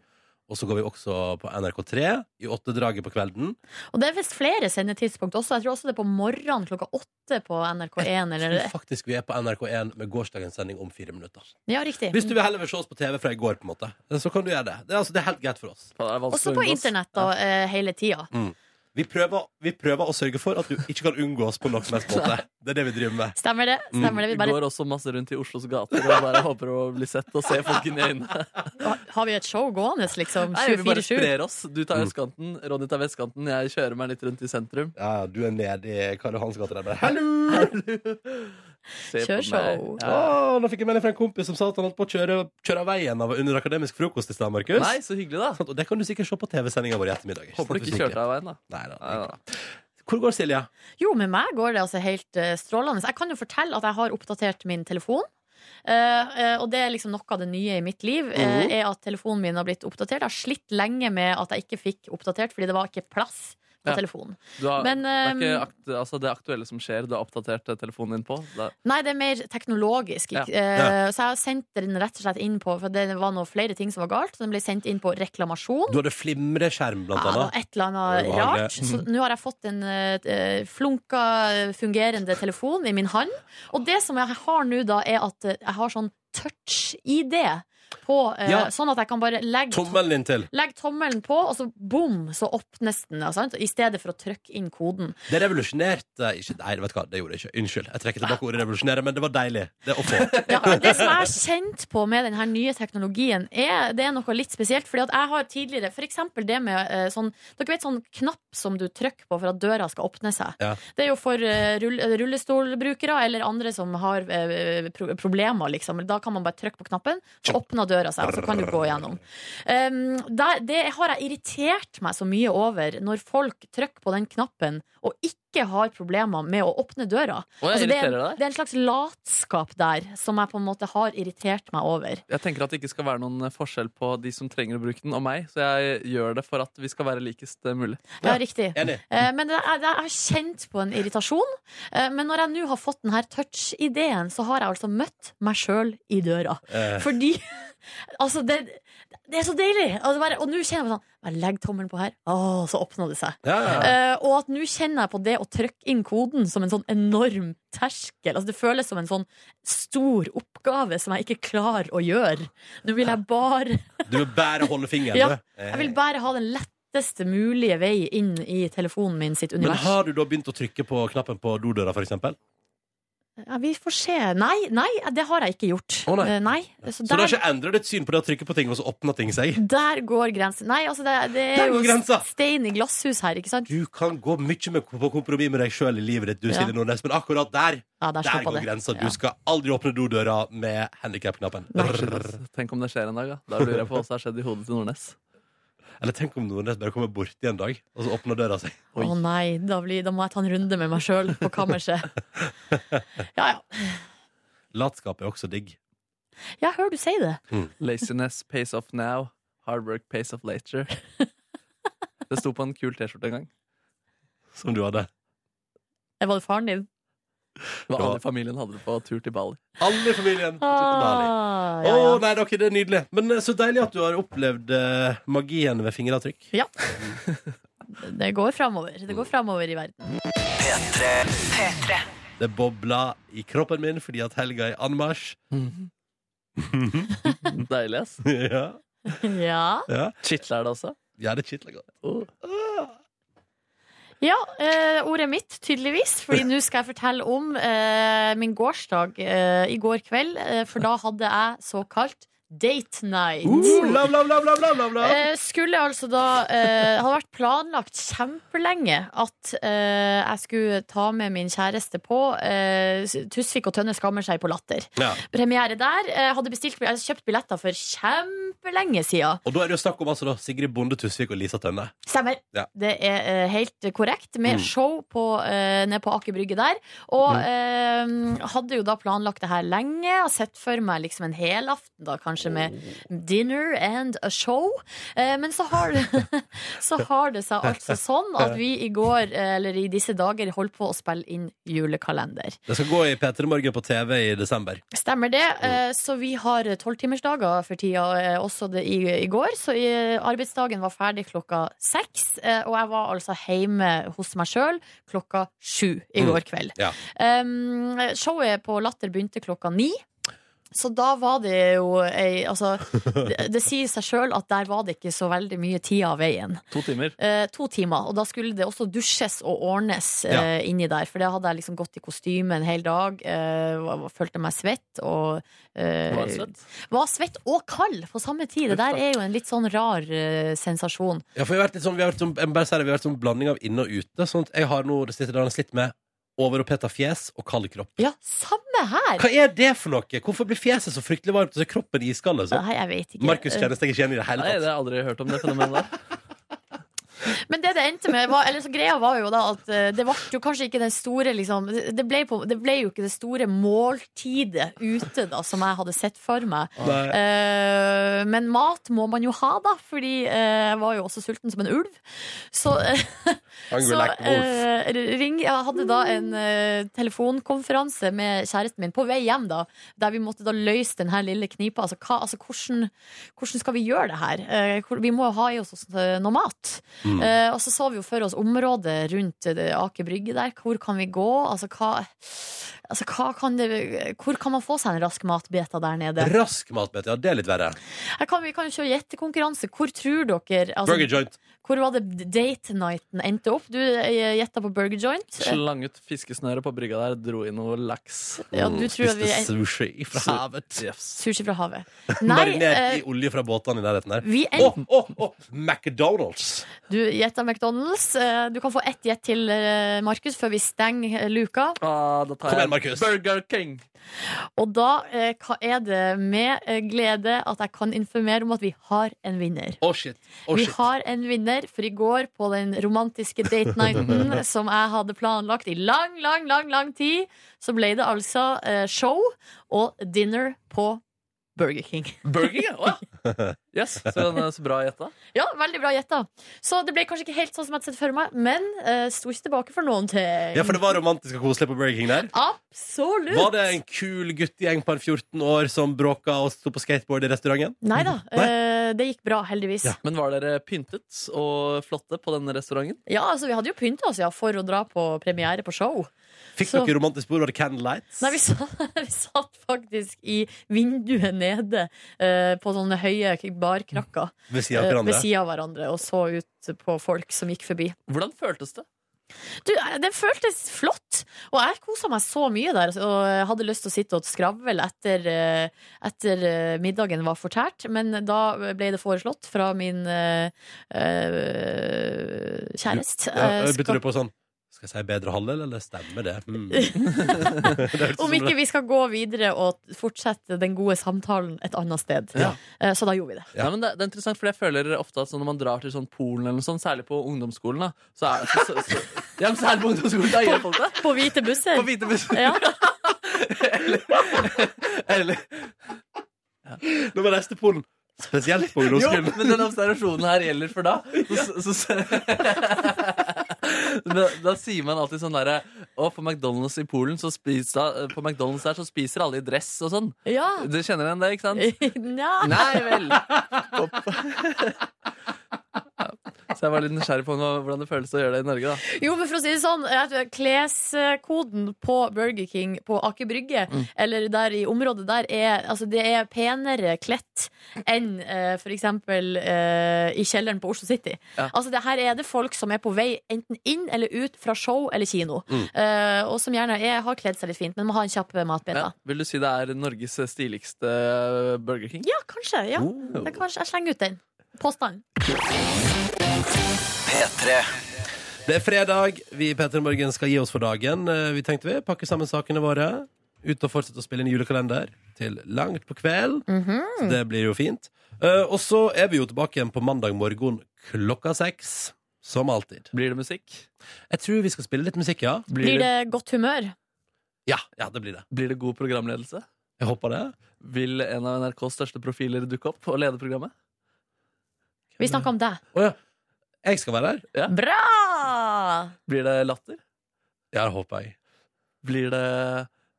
B: Og så går vi også på NRK3 i åttedraget på kvelden.
D: Og det er visst flere sendetidspunkt også. Jeg tror også det er på morgenen klokka åtte på NRK1.
B: Jeg
D: Eller...
B: tror faktisk vi er på NRK1 med gårsdagens sending om fire minutter.
D: Ja, riktig.
B: Hvis du vil heller vil se oss på TV fra i går, på en måte, så kan du gjøre det. Det er, altså, det er helt greit for oss.
C: Faen, det er vanskelig å
D: Også på
C: unngås.
D: internett da, eh, hele tida.
B: Vi prøver, vi prøver å sørge for at du ikke kan unngå oss på noen som helst måte. Det er det vi driver med.
D: Stemmer det? Stemmer det?
C: Vi
D: Vi bare,
C: Mm, går også masse rundt i Oslos gater og bare håper å bli sett og se folk inn i øynene.
D: har vi et show gående, liksom?
C: Nei, vi bare
D: 24-7?
C: sprer oss. Du tar østkanten, Ronny tar vestkanten, jeg kjører meg litt rundt i sentrum.
B: Ja, du er nede i Karl Johans gate der. bare, Hallo!
C: Se på
D: Kjør
C: meg.
D: show.
C: Ja.
B: Å, nå fikk jeg melding fra en kompis som sa at han holdt på å kjøre, kjøre av veien av under akademisk frokost i stad, Markus.
C: Nei, så hyggelig, da.
B: Sant, Og det kan du sikkert se på TV-sendinga vår i ettermiddag.
C: Håper du ikke kjørte av veien, da.
B: Nei, da,
C: Nei, da.
B: Hvor går Silje?
D: Jo, med meg går det altså helt eh, strålende. Jeg kan jo fortelle at jeg har oppdatert min telefon. Eh, eh, og det er liksom noe av det nye i mitt liv, eh, er at telefonen min har blitt oppdatert. Jeg har slitt lenge med at jeg ikke fikk oppdatert, fordi det var ikke plass på
C: Ja.
D: telefonen.
C: Du har,
D: Men,
C: det er ikke
D: ehm,
C: akt, altså det aktuelle som skjer, du har oppdatert eh, telefonen din på. Det er,
D: Nei, det er mer teknologisk. ikke- Eh, Så jeg har sendt den rett og slett inn på For det var noe flere ting som var galt, så den ble sendt inn på reklamasjon.
B: Du hadde flimreskjerm, blant
D: Ja, det var
B: annet.
D: et eller
B: Det
D: annet
B: var ubehagelig.
D: rart. Så nå har jeg fått en eh, flunka fungerende telefon i min hånd. Og det som jeg har nå, da, er at eh, jeg har sånn touch-ID på, eh,
B: Ja.
D: sånn at jeg kan bare legge
B: Tommelen din til.
D: Legg tommelen på, og så bom, så åpnes den. ja, Sant? I stedet for å trykke inn koden.
B: Det revolusjonerte ikke Nei, vet du hva, det gjorde det ikke. Unnskyld. Jeg trekker tilbake ordet revolusjonere, men det var deilig. Det å få.
D: Ja, det som jeg har kjent på med den her nye teknologien, er, det er noe litt spesielt. Fordi at jeg har tidligere For eksempel det med eh, sånn Dere vet sånn knapp som du trykker på for at døra skal åpne seg.
B: Ja.
D: Det er jo for eh, rull, rullestolbrukere eller andre som har eh, pro problemer, liksom. Da kan man bare trykke på knappen, så åpner døra seg, og så kan du gå gjennom. Um, der, det har jeg irritert meg så mye over når folk trykker på den knappen og ikke har problemer med å åpne døra.
C: Å, jeg
D: Altså, det, er,
C: irriterer deg.
D: det er en slags latskap der som jeg på en måte har irritert meg over.
C: Jeg tenker at det ikke skal være noen eh, forskjell på de som trenger å bruke den, og meg. Så jeg gjør det for at vi skal være likest eh, mulig.
D: Ja, riktig.
B: Enig.
D: Eh, Men det er, det er, jeg har kjent på en irritasjon. Eh, Men når jeg nå har fått denne touch-ideen, så har jeg altså møtt meg sjøl i døra.
B: Eh,
D: Fordi Altså, det, det er så deilig! Altså, bare, og nå kjenner jeg på sånn Bare legg tommelen på her, Åh, så åpna det seg.
B: ja, ja.
D: Eh, og at nå kjenner jeg på det å trykke inn koden som en sånn enorm terskel. Altså, det føles som en sånn stor oppgave som jeg ikke klarer å gjøre. Nå vil jeg bare
B: Du vil bare holde fingeren.
D: Ja,
B: du. Eh.
D: Jeg vil bare ha den letteste mulige vei inn i telefonen min sitt
B: Men
D: univers.
B: har du da begynt å trykke på knappen på dodøra, for eksempel?
D: Ja, vi får se. Nei, nei, det har jeg ikke gjort.
B: Å, nei.
D: Eh, nei.
B: Så
D: Så
B: du har
D: der,
B: ikke endret ditt syn på det å trykke på ting, og så åpner ting seg?
D: der går grensen. Nei, altså, det, det
B: Der
D: er
B: går
D: jo
B: grensa.
D: stein i glasshus her, ikke sant?
B: Du kan gå mye med, på kompromiss med deg sjøl i livet ditt, du,
D: Ja.
B: Silje Nordnes, men akkurat der
D: Ja, der
B: der
D: stoppa
B: går
D: det.
B: grensa. Du
D: Ja.
B: skal aldri åpne dodøra med handikap-knappen.
C: Tenk om det skjer en dag, da. Da lurer jeg på hva som har skjedd i hodet til Nordnes.
B: Eller tenk om Nordnes bare kommer borti en dag, og så åpner døra seg.
D: Å nei, da, blir, da må jeg ta en runde med meg sjøl på kammerset. Ja, ja.
B: Latskap er også digg.
D: Jeg hører du si det.
C: Laziness pays off now. Hard work pays off later. Det sto på en kul T-skjorte en gang.
B: Som du hadde.
D: Eh, Var det faren din?
C: Det var
B: Ja.
C: alle i familien hadde det på tur til Bali.
B: Alle i familien. Å
D: Ah, ja, ja.
B: nei, dere, det er nydelig. Men eh, så deilig at du har opplevd eh, magien ved fingeravtrykk.
D: Det går framover. Det går framover i verden.
B: Det bobla i kroppen min fordi at helga er i anmarsj.
C: Deilig, ass.
B: ja.
D: Ja.
B: ja.
C: Chitler det også.
B: Ja, det kitler godt.
C: Oh.
D: ja eh, ordet mitt, tydeligvis. Fordi nå skal jeg fortelle om eh, min gårsdag eh, i går kveld. Eh, for da hadde jeg såkalt Date night.
B: Uh, love, love, love, love, love, love, love.
D: Eh, skulle altså da eh, Hadde vært planlagt kjempelenge at eh, jeg skulle ta med min kjæreste på eh, Tusvik og Tønne skammer seg på latter.
B: Ja.
D: Premiere der. Eh, hadde bestilt, jeg hadde kjøpt billetter for kjempelenge siden.
B: Og da er det jo snakk om altså, da, Sigrid Bonde Tusvik og Lisa Tønne.
D: Stemmer.
B: Ja.
D: Det er eh, helt korrekt. Med
B: Mm.
D: show på, eh, nede på Aker Brygge der. Og
B: Mm.
D: eh, hadde jo da planlagt det her lenge. Har sett for meg liksom en helaften, da, kanskje med
B: Oh.
D: dinner and a show. Eh, men så har, det, så har det seg altså sånn at vi i går, eh, eller i disse dager, holdt på å spille inn julekalender.
B: Det skal gå i P3 Morgen på TV i desember.
D: Stemmer det. Eh, Så vi har tolvtimersdager for tida, eh, også det i, i går. Så i, eh, arbeidsdagen var ferdig klokka seks, eh, og jeg var altså hjemme hos meg sjøl klokka sju i
B: Mm.
D: går kveld.
B: Ja.
D: Um, showet på Latter begynte klokka ni. Så da var det jo ei Altså, det, det sier seg sjøl at der var det ikke så veldig mye tid av veien.
C: To timer.
D: Eh, to timer, og da skulle det også dusjes og ordnes eh,
B: Ja.
D: inni der. For det hadde jeg liksom gått i kostyme en hel dag. eh, og- og følte meg svett og eh,
C: Var det svett?
D: var svett og kald på samme tid. Det der er jo en litt sånn rar eh, sensasjon.
B: Ja, for vi har vært litt sånn, vi har vært sånn, jeg må bare si det, vi har vært sånn blanding av inne og ute. Sånn at jeg har nå det siste dagen slitt med overoppheta fjes og kald kropp.
D: Ja, samme her!
B: Hva er det for noe? Hvorfor blir fjeset så fryktelig varmt, og så er kroppen iskald? Altså?
D: Nei, jeg vet ikke.
B: Markus kjenner seg ikke igjen i det hele
C: Nei, det
B: tatt.
C: har jeg aldri hørt om det fenomenet der.
D: Men det det endte med var, eller så greia var jo da at eh, det ble jo kanskje ikke den store liksom, det, ble på, det ble jo ikke det store måltidet ute da som jeg hadde sett for meg.
B: Nei.
D: Eh, men mat må man jo ha, da, fordi eh, jeg var jo også sulten som en ulv. Så, eh,
B: Hungry
D: så
B: like a wolf.
D: eh, ring, jeg hadde da en eh, telefonkonferanse med kjæresten min på vei hjem, da, der vi måtte da løse den her lille knipa. Altså, hva, altså hvordan, hvordan skal vi gjøre det her? Eh, hvor- vi må jo ha i oss eh, noe mat.
B: Mm.
D: Eh, og så så vi jo for oss området rundt eh, det Aker Brygge der. Hvor kan vi gå? Altså, hva, altså, hva kan det, hvor kan man få seg en rask matbeta der nede?
B: Rask matbete, ja, det er litt verre.
D: Her kan, vi kan jo kjøre gjettekonkurranse. Hvor tror dere
B: Burger
D: altså,
B: joint.
D: Hvor var det date nighten endte opp? Du eh, gjetta på burger joint. Eh,
C: Slang ut fiskesnøret på brygga der, dro i noe laks.
D: Ja,
B: Mm.
D: du tror at vi
B: Spiste sushi fra
C: Su-
B: havet.
C: Yes.
D: Sushi fra havet. Nei,
B: Marinert
D: eh,
B: i olje fra båtene i nærheten der.
D: vi
B: Å,
D: endte
B: å, å! McDonald's!
D: Du gjetta McDonald's. Eh, Du kan få ett gjett til, eh, Markus, før vi stenger eh, luka.
C: Ah, da
B: Kom
C: tar jeg
B: igjen, Markus.
C: Burger King.
D: Og da eh, hva er det med eh, glede at jeg kan informere om at vi har en vinner.
B: Å, shit. Å,
D: vi
B: shit.
D: har en vinner, for i går på den romantiske date nighten som jeg hadde planlagt i lang, lang, lang lang tid, så ble det altså eh, show og dinner på Burger King.
C: Burger, ja. Å, ja. Yes, så, den er så bra gjetta.
D: Ja, veldig bra gjetta. Så det ble kanskje ikke helt sånn som jeg hadde sett for meg, men eh, sto ikke tilbake for noen ting.
B: Ja, for det var romantisk og koselig på Burger King der.
D: Absolutt!
B: Var det en kul guttegjeng på en 14 år som bråka og sto på skateboard i restauranten?
D: Nei da, eh, det gikk bra, heldigvis.
B: Ja.
D: Ja,
C: Men var dere pyntet og flotte på denne restauranten?
D: altså Vi hadde jo pynta oss ja, for å dra på premiere på show.
B: Fikk
D: Så-
B: dere romantisk bord? Var det candlelights?
D: Nei, vi satt, vi satt faktisk i vinduet nede eh, på sånne høye barkrakker
B: Ved siden av
D: eh, ved
B: hverandre?
D: sida av hverandre og så ut på folk som gikk forbi.
C: Hvordan føltes det?
D: Du, eh, det føltes flott, og jeg kosa meg så mye der og jeg hadde lyst til å sitte og skravle etter, eh, etter eh, middagen var fortært, men da ble det foreslått fra min eh, eh, kjæreste.
B: Ja,
D: eh, skal-
B: Bytter du på sånn Skal jeg si bedre halvdel, eller stemmer det? Mm. det hørtes ut
D: Om
B: som
D: ikke
B: det.
D: vi skal gå videre og fortsette den gode samtalen et annet sted.
B: Ja.
D: Eh, Så da gjorde vi det.
B: Ja.
C: Nei, men det, det er interessant, for jeg føler ofte at sånn, når man drar til sånn Polen, eller noe sånt, særlig på ungdomsskolen, da, så er det så, så, så, ja, men særlig på ungdomsskolen, da gjør folk det.
D: På hvite busser.
C: På hvite bussen.
D: Ja.
C: Eller,
B: Nå må jeg reise til Polen. Spesielt på
C: jo,
B: ungdomsskolen.
C: men den observasjonen her gjelder for da. Så, så, så, da, da sier man alltid sånn derre Å, på McDonald's i Polen, så spiser, på McDonald's der, så spiser alle i dress og sånn.
D: ja.
C: Du kjenner igjen det, ikke sant?
D: Nja.
C: Nei vel. Så jeg var litt nysgjerrig på hva- hvordan det føles å gjøre det i Norge. da
D: Jo, men for å si det sånn, jeg vet, kleskoden på Burger King på Aker Brygge,
B: Mm.
D: eller der i området der, er, altså, det er penere kledd enn eh, for eksempel eh, i kjelleren på Oslo City.
C: Ja.
D: Altså, det her er det folk som er på vei enten inn eller ut fra show eller kino,
B: Mm.
D: Eh, og som gjerne er, har kledd seg litt fint, men må ha en kjapp matbit da.
C: Ja. Vil du si det er Norges stiligste Burger King?
D: Ja, kanskje, ja.
B: Oh.
D: Men kanskje jeg slenger ut den. Påstand.
B: Det er fredag. Vi i P3 Morgen skal gi oss for dagen. Eh, Vi tenkte vi pakke sammen sakene våre. Ut og fortsette å spille inn julekalender til langt på kveld.
D: Mhm.
B: Så det blir jo fint. Eh, Og så er vi jo tilbake igjen på mandag morgen klokka seks. Som alltid.
C: Blir det musikk?
B: Jeg tror vi skal spille litt musikk, ja.
D: Blir det godt humør?
B: Ja, ja det blir det.
C: blir det god programledelse?
B: Jeg håper det.
C: Vil en av NRKs største profiler dukke opp og lede programmet?
D: Vi snakker om deg.
B: Å ja. Jeg skal være der.
D: Bra!
C: Blir det latter?
B: Ja, det håper jeg.
C: Blir det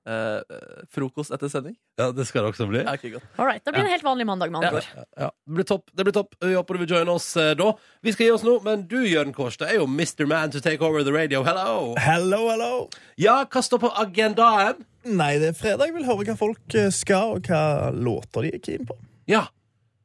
C: eh, frokost etter sending?
B: Ja, Det skal det også bli.
C: Ja, ok, godt.
D: All right, da blir det en helt vanlig mandag med andre ord.
B: Ja, ja. Det blir topp. det blir topp Vi håper du vil joine oss eh, da. Vi skal gi oss nå, men du Jørn Kårstø er jo Mr. Man to take over the radio. Hello!
J: Hello, hello.
B: Ja, hva står på agendaen?
J: Nei, det er fredag. Jeg vil høre hva folk eh, skal, og hva låter de er keen på.
B: Ja.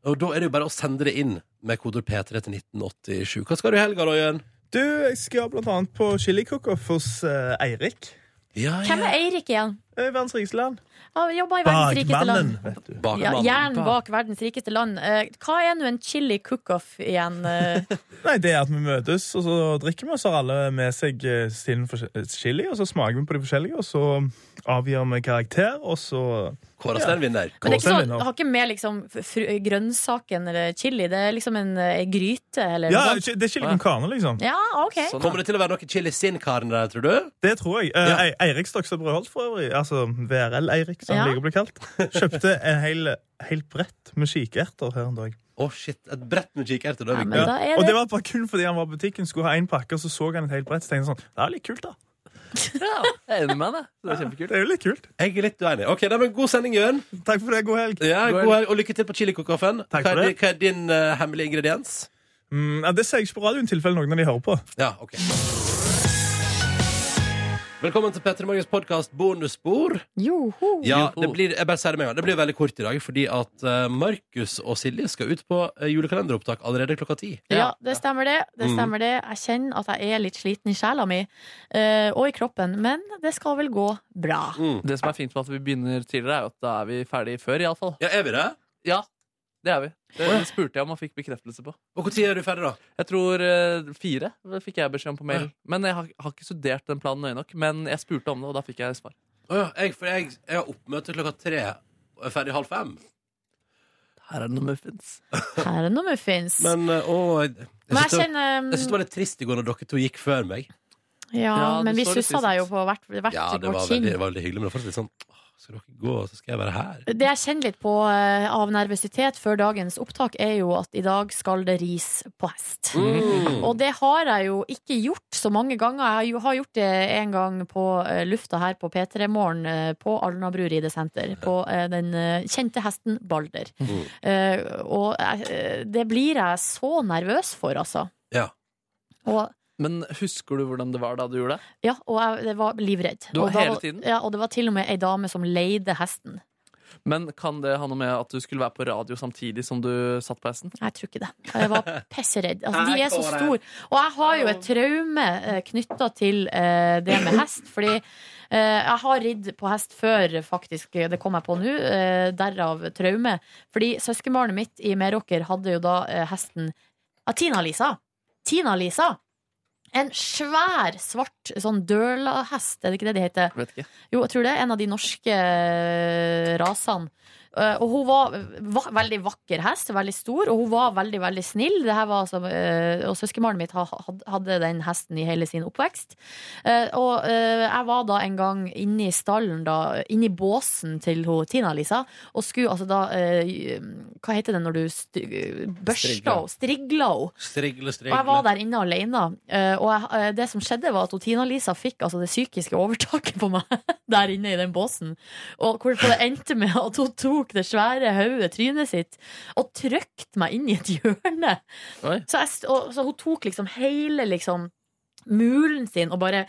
B: Og da er det jo bare å sende det inn med koder P3 til 1987. Hva skal du i helga, da, Jørn?
J: Du, jeg skal blant annet på chilikokoff hos eh, Eirik.
B: Ja,
D: Hvem er Eirik igjen?
J: Eh, Verdens rikeste land.
D: Han Jobber i verdens rikeste land.
J: Bakmannen, vet du.
B: Bakmann.
D: Ja, Hjernen bak verdens rikeste land. Eh, hva er nå en chili cook-off igjen? eh?
J: Nei, det er at vi møtes, og så drikker vi, og så har alle med seg eh, sin forse- chili, og så smaker vi på de forskjellige, og så avgjør vi karakter, og så
B: Kåre Stenvinner.
D: Men det er ikke
J: Kåre
D: sånn, det har ikke med liksom fru, grønnsaken eller chili. Det er liksom en, eh, gryte eller
J: Ja,
D: noe sånt.
J: chi- det er chili con carne, liksom.
D: Ja, OK.
C: Sånn,
B: Kommer
C: ja.
B: det til å være noe chili sin-karen der, tror du?
J: Det tror jeg. Eh,
B: Ja.
J: Ei- Eirik Stokstad Brøholt, for øvrig, altså VRL-Eirik, som
D: Ja.
J: han liker å bli kalt, kjøpte en hel, helt brett med kikerter her en dag.
B: Å, shit. Et brett med kikerter. da er
D: Ja,
B: vi-
D: men da er
J: Og det
D: det
J: var bare kun fordi han var i butikken, skulle ha en pakke, og så så han et helt brett, så tenkte han sånn, det er litt kult da.
C: Ja, jeg er enig med deg. Det er kjempekult.
J: Det er jo litt kult.
B: Jeg er litt uenig. Ok, da, men God sending, Jørn.
J: Takk for det, god helg.
B: Ja,
C: God
B: god helg, og lykke til på chilikokoffen.
J: Takk
B: Hva, er
J: for det.
B: di- hva er din eh, hemmelige ingrediens?
J: Mm, ja, det ser jeg ikke på radioen i tilfelle noen av de hører på.
B: Ja, ok Velkommen til Petter Morgens podkast Bonusspor.
D: Mm. Joho.
B: Ja, det blir, jeg bare sier det med en gang. Det blir veldig kort i dag, fordi at eh, Markus og Silje skal ut på eh, julekalenderopptak allerede klokka ti.
D: Ja, det stemmer det. det,
B: Mm.
D: stemmer det. Jeg kjenner at jeg er litt sliten i sjela mi eh, og i kroppen, men det skal vel gå bra.
B: Mm.
C: Det som er fint med at vi begynner tidligere, er jo at da er vi ferdig før, iallfall.
B: Ja, er vi det?
C: Ja, det er vi. Det, det spurte jeg om og fikk bekreftelse på.
B: Og når er du ferdig, da?
C: Jeg tror eh, fire det fikk jeg beskjed om på mail. Men jeg har, har ikke studert den planen nøye nok. Men jeg spurte om det, og da fikk jeg svar.
B: Å ja, jeg, for jeg, jeg har oppmøte klokka tre og er ferdig halv fem.
C: Her er det noen muffins.
D: Her er det noe muffins. Men,
B: Men eh, å, jeg, jeg
D: jeg
B: syns det,
D: kjenner mm,
B: jeg synes det var litt trist i går når dere to gikk før meg.
D: Ja,
C: Ja,
D: men
C: du
D: vi
C: så litt
D: sussa deg jo på hvert, hvert
B: Ja, det
D: vårt
B: var
D: kinn.
B: veldig, det var veldig hyggelig, men det var fortsatt litt sånn åh, Skal dere gå, så skal jeg være her?
D: Det jeg kjenner litt på eh, av nervøsitet før dagens opptak, er jo at i dag skal det ris på hest.
C: Mm.
D: Og det har jeg jo ikke gjort så mange ganger. Jeg har jo- har gjort det en gang på eh, lufta her på P3 Morgen eh, på Alnabru ridesenter. På eh, den eh, kjente hesten Balder.
C: Mm.
D: Eh, og jeg- eh, det blir jeg så nervøs for, altså.
B: Ja.
D: Og
C: Men husker du hvordan det var da du gjorde det?
D: ja, og jeg det var livredd.
C: Du var
D: og, da
C: hele tiden?
D: Ja, og det var til og med ei dame som leide hesten.
C: Men kan det ha noe med at du skulle være på radio samtidig som du satt på hesten?
D: Jeg tror ikke det. Jeg var pisseredd. Altså, de er så store. Og jeg har jo et traume knytta til eh, det med hest, fordi eh, jeg har ridd på hest før, faktisk. Det kom jeg på nå. eh, Derav traume. Fordi søskenbarnet mitt i Meråker hadde jo da eh, hesten ah, Tina-Lisa. Tina-Lisa! En svær, svart sånn dølahest, er det ikke det de heter?
C: Vet ikke.
D: Jo, jeg tror det. er En av de norske eh, rasene. Eh, Og hun var, va- veldig vakker hest, veldig stor, og hun var veldig, veldig snill. Det her var altså, eh, og søskenbarnet mitt ha- had- hadde den hesten i hele sin oppvekst. Eh, Og eh, jeg var da en gang inne i stallen, da, inne i båsen til hun Tina-Lisa, og skulle altså da eh, Hva heter det når du st- eh, børsta henne? Strigla henne.
B: Strigle,
D: Og
B: strigle.
D: jeg var der inne alene. eh, Og jeg, eh, det som skjedde, var at hun Tina-Lisa fikk altså, det psykiske overtaket på meg der inne i den båsen. Og hvorfor det endte med at hun tok tok det svære hodet, trynet sitt, og trøkte meg inn i et hjørne. Så, jeg, st- og, så hun tok liksom hele liksom, mulen sin og bare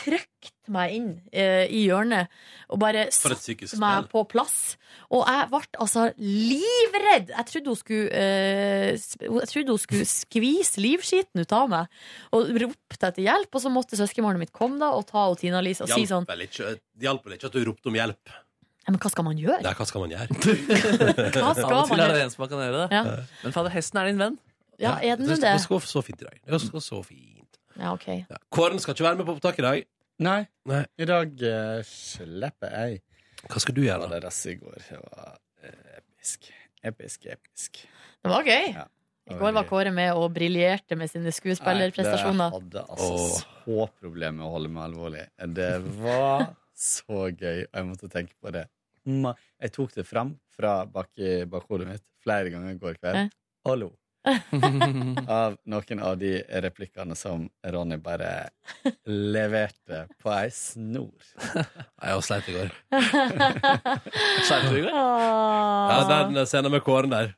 D: trøkte meg inn eh, i hjørnet. Og bare
B: For et psykisk
D: satte meg
B: spill.
D: på plass. Og jeg ble altså livredd! Jeg trodde hun skulle, eh, sp- jeg trodde hun skulle skvise livskiten ut av meg. Og ropte etter hjelp, og så måtte søskenbarnet mitt komme da og ta og Tina Lise og si
B: Hjalp
D: sånn
B: vel ikke, det hjalp vel ikke at du ropte om hjelp.
D: «Ja, Men hva skal man gjøre?
B: Nei, hva skal man gjøre?
D: Hva skal
C: Av og til er
D: man
C: det
D: gjøre?
C: en som kan gjøre det.
D: Ja.
C: Men fader, hesten er din venn.
D: Ja, er den
B: det?
D: det?
B: Det skal så fint i dag. Det skal så fint.
D: Ja, ok.
B: Ja. Kåren skal ikke være med på opptak i dag.
E: Nei.
B: Nei.
E: I dag eh, slipper jeg.
B: Hva skal du
E: Det
B: gjøre, da?
E: var deres i går. Det var eh, episk. Episk, episk.
D: Det var gøy.
E: Ja.
D: I går var Kåre med og briljerte med sine skuespillerprestasjoner.
E: Nei, det hadde altså så problemer med å holde meg alvorlig. Det var så gøy, og jeg måtte tenke på det. Ma- Jeg tok det fram fra bak i bakhodet mitt flere ganger i
D: Ja.
E: går kveld. Og lo. Av noen av de replikkene som Ronny bare leverte på ei snor.
B: Nei, Jeg var sleit i går.
C: Skjerper du i går?
B: Ja,
D: Ah.
B: den scenen med Kåren der.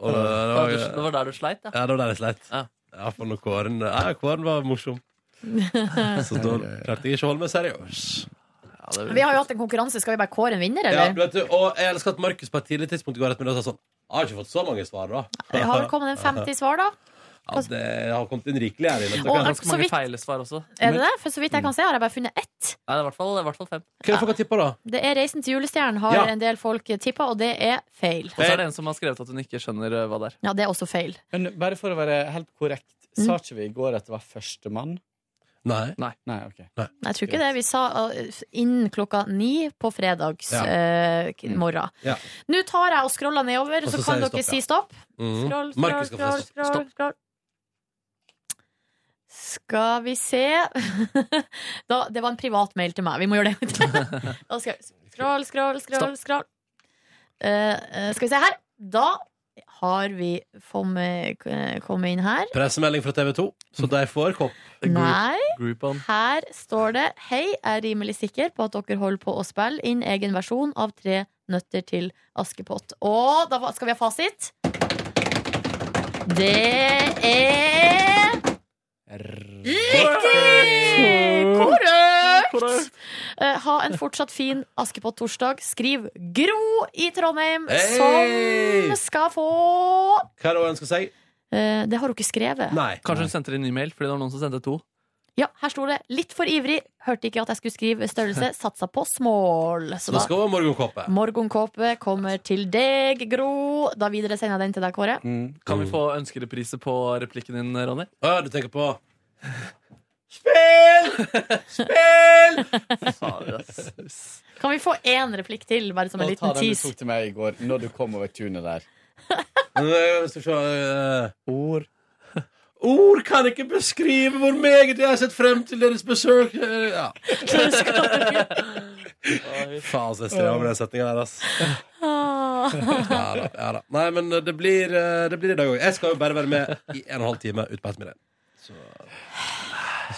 B: Og, det,
C: Det var
B: var,
C: du- det var der du sleit, ja.
B: ja, det var der jeg sleit.
C: Ja.
B: Ja, for når Kåren ja, Kåren var morsom. Så da klarte jeg ikke å holde meg seriøs.
C: ja det
D: Vi har jo hatt en konkurranse. Skal vi bare kåre en vinner,
B: Ja,
D: eller?
B: vet du, og jeg elsker at Markus på et tidlig tidspunkt i går ettermiddag sa sånn Jeg har ikke fått så mange svar, da.
D: Det har vel kommet en 50 svar, da.
B: Ja, det har kommet inn rikelig her inne.
D: Og
B: Kan-
D: så
C: Ganske mange
D: vidt-
C: feile svar også. Nei,
D: Er det det? For så vidt jeg kan se, har jeg bare funnet ett.
C: det er i hvert fall, det er i hvert fall fem.
B: Hva er det folk har tippa, da?
D: Det er 'Reisen til julestjernen' har
B: Ja.
D: en del folk tippa, og det er feil.
C: Og så er det en som har skrevet at hun ikke skjønner eh, hva det er.
D: Ja, det er også feil.
E: Men bare for å være helt korrekt,
D: Mm.
E: sa ikke vi i går at det var førstemann?
B: Nei.
E: Nei, OK.
D: Nei, Jeg tror ikke det. Vi sa uh, innen klokka ni på fredags
B: Ja.
D: eh, k- morgen.
B: Ja.
D: Nå tar jeg og scroller nedover,
B: Og
D: så
B: så sier
D: kan
B: stopp,
D: dere si
B: ja.
D: stopp.
B: Mhm.
D: Scroll,
B: Markus
D: scroll,
B: skal få
D: scroll,
B: stopp.
D: scroll, scroll. Skal vi se da, Det var en privat mail til meg. Vi må gjøre det. da skal jeg, scroll, scroll, scroll. scroll. Eh, eh, skal vi se her. Da har vi kommet komme inn her.
B: Pressemelding fra TV 2, så de får kopp.
C: Det er group-
D: Nei.
B: Sånn.
C: Groupon.
D: Her står det Hei, jeg er rimelig sikker på at dere holder på å spille inn egen versjon av Tre nøtter til Askepott. Og da va- skal vi ha fasit. Det er Mm. Riktig! Korrekt! Eh, Ha en fortsatt fin Askepott-torsdag. Skriv Gro i Trondheim,
B: Hey!
D: som skal få
B: Hva er det hun ønsker seg?
D: Eh, Det har hun ikke skrevet.
B: Nei.
C: Kanskje hun sendte det i en ny mail, fordi det var noen som sendte to.
D: Ja, her sto det 'litt for ivrig', hørte ikke at jeg skulle skrive størrelse, satsa på smål. Så
B: Nå
D: da
B: skal hun ha morgenkåpe.
D: Morgenkåpe kommer til deg, Gro. Da videresender jeg den til deg, Kåre.
C: Kan vi få ønskereprise på replikken din, Ronny?
B: Å, du tenker på
D: Kan vi få én replikk til, bare som en
E: Nå ta
D: liten
E: den du
D: tease?
E: tok til meg i går, når du kom over tunet der.
B: Øh, Skal vi se øh,
E: Ord.
B: Ord kan ikke beskrive hvor meget jeg har sett frem til deres besøk. Øh, Ja. Faen, så jeg strever med den setninga der, ass.
D: Ah.
B: Ja da, ja da. Nei, men det blir, øh, det blir i dag òg. Jeg skal jo bare være med i en og en halv time ut på ettermiddagen. Så,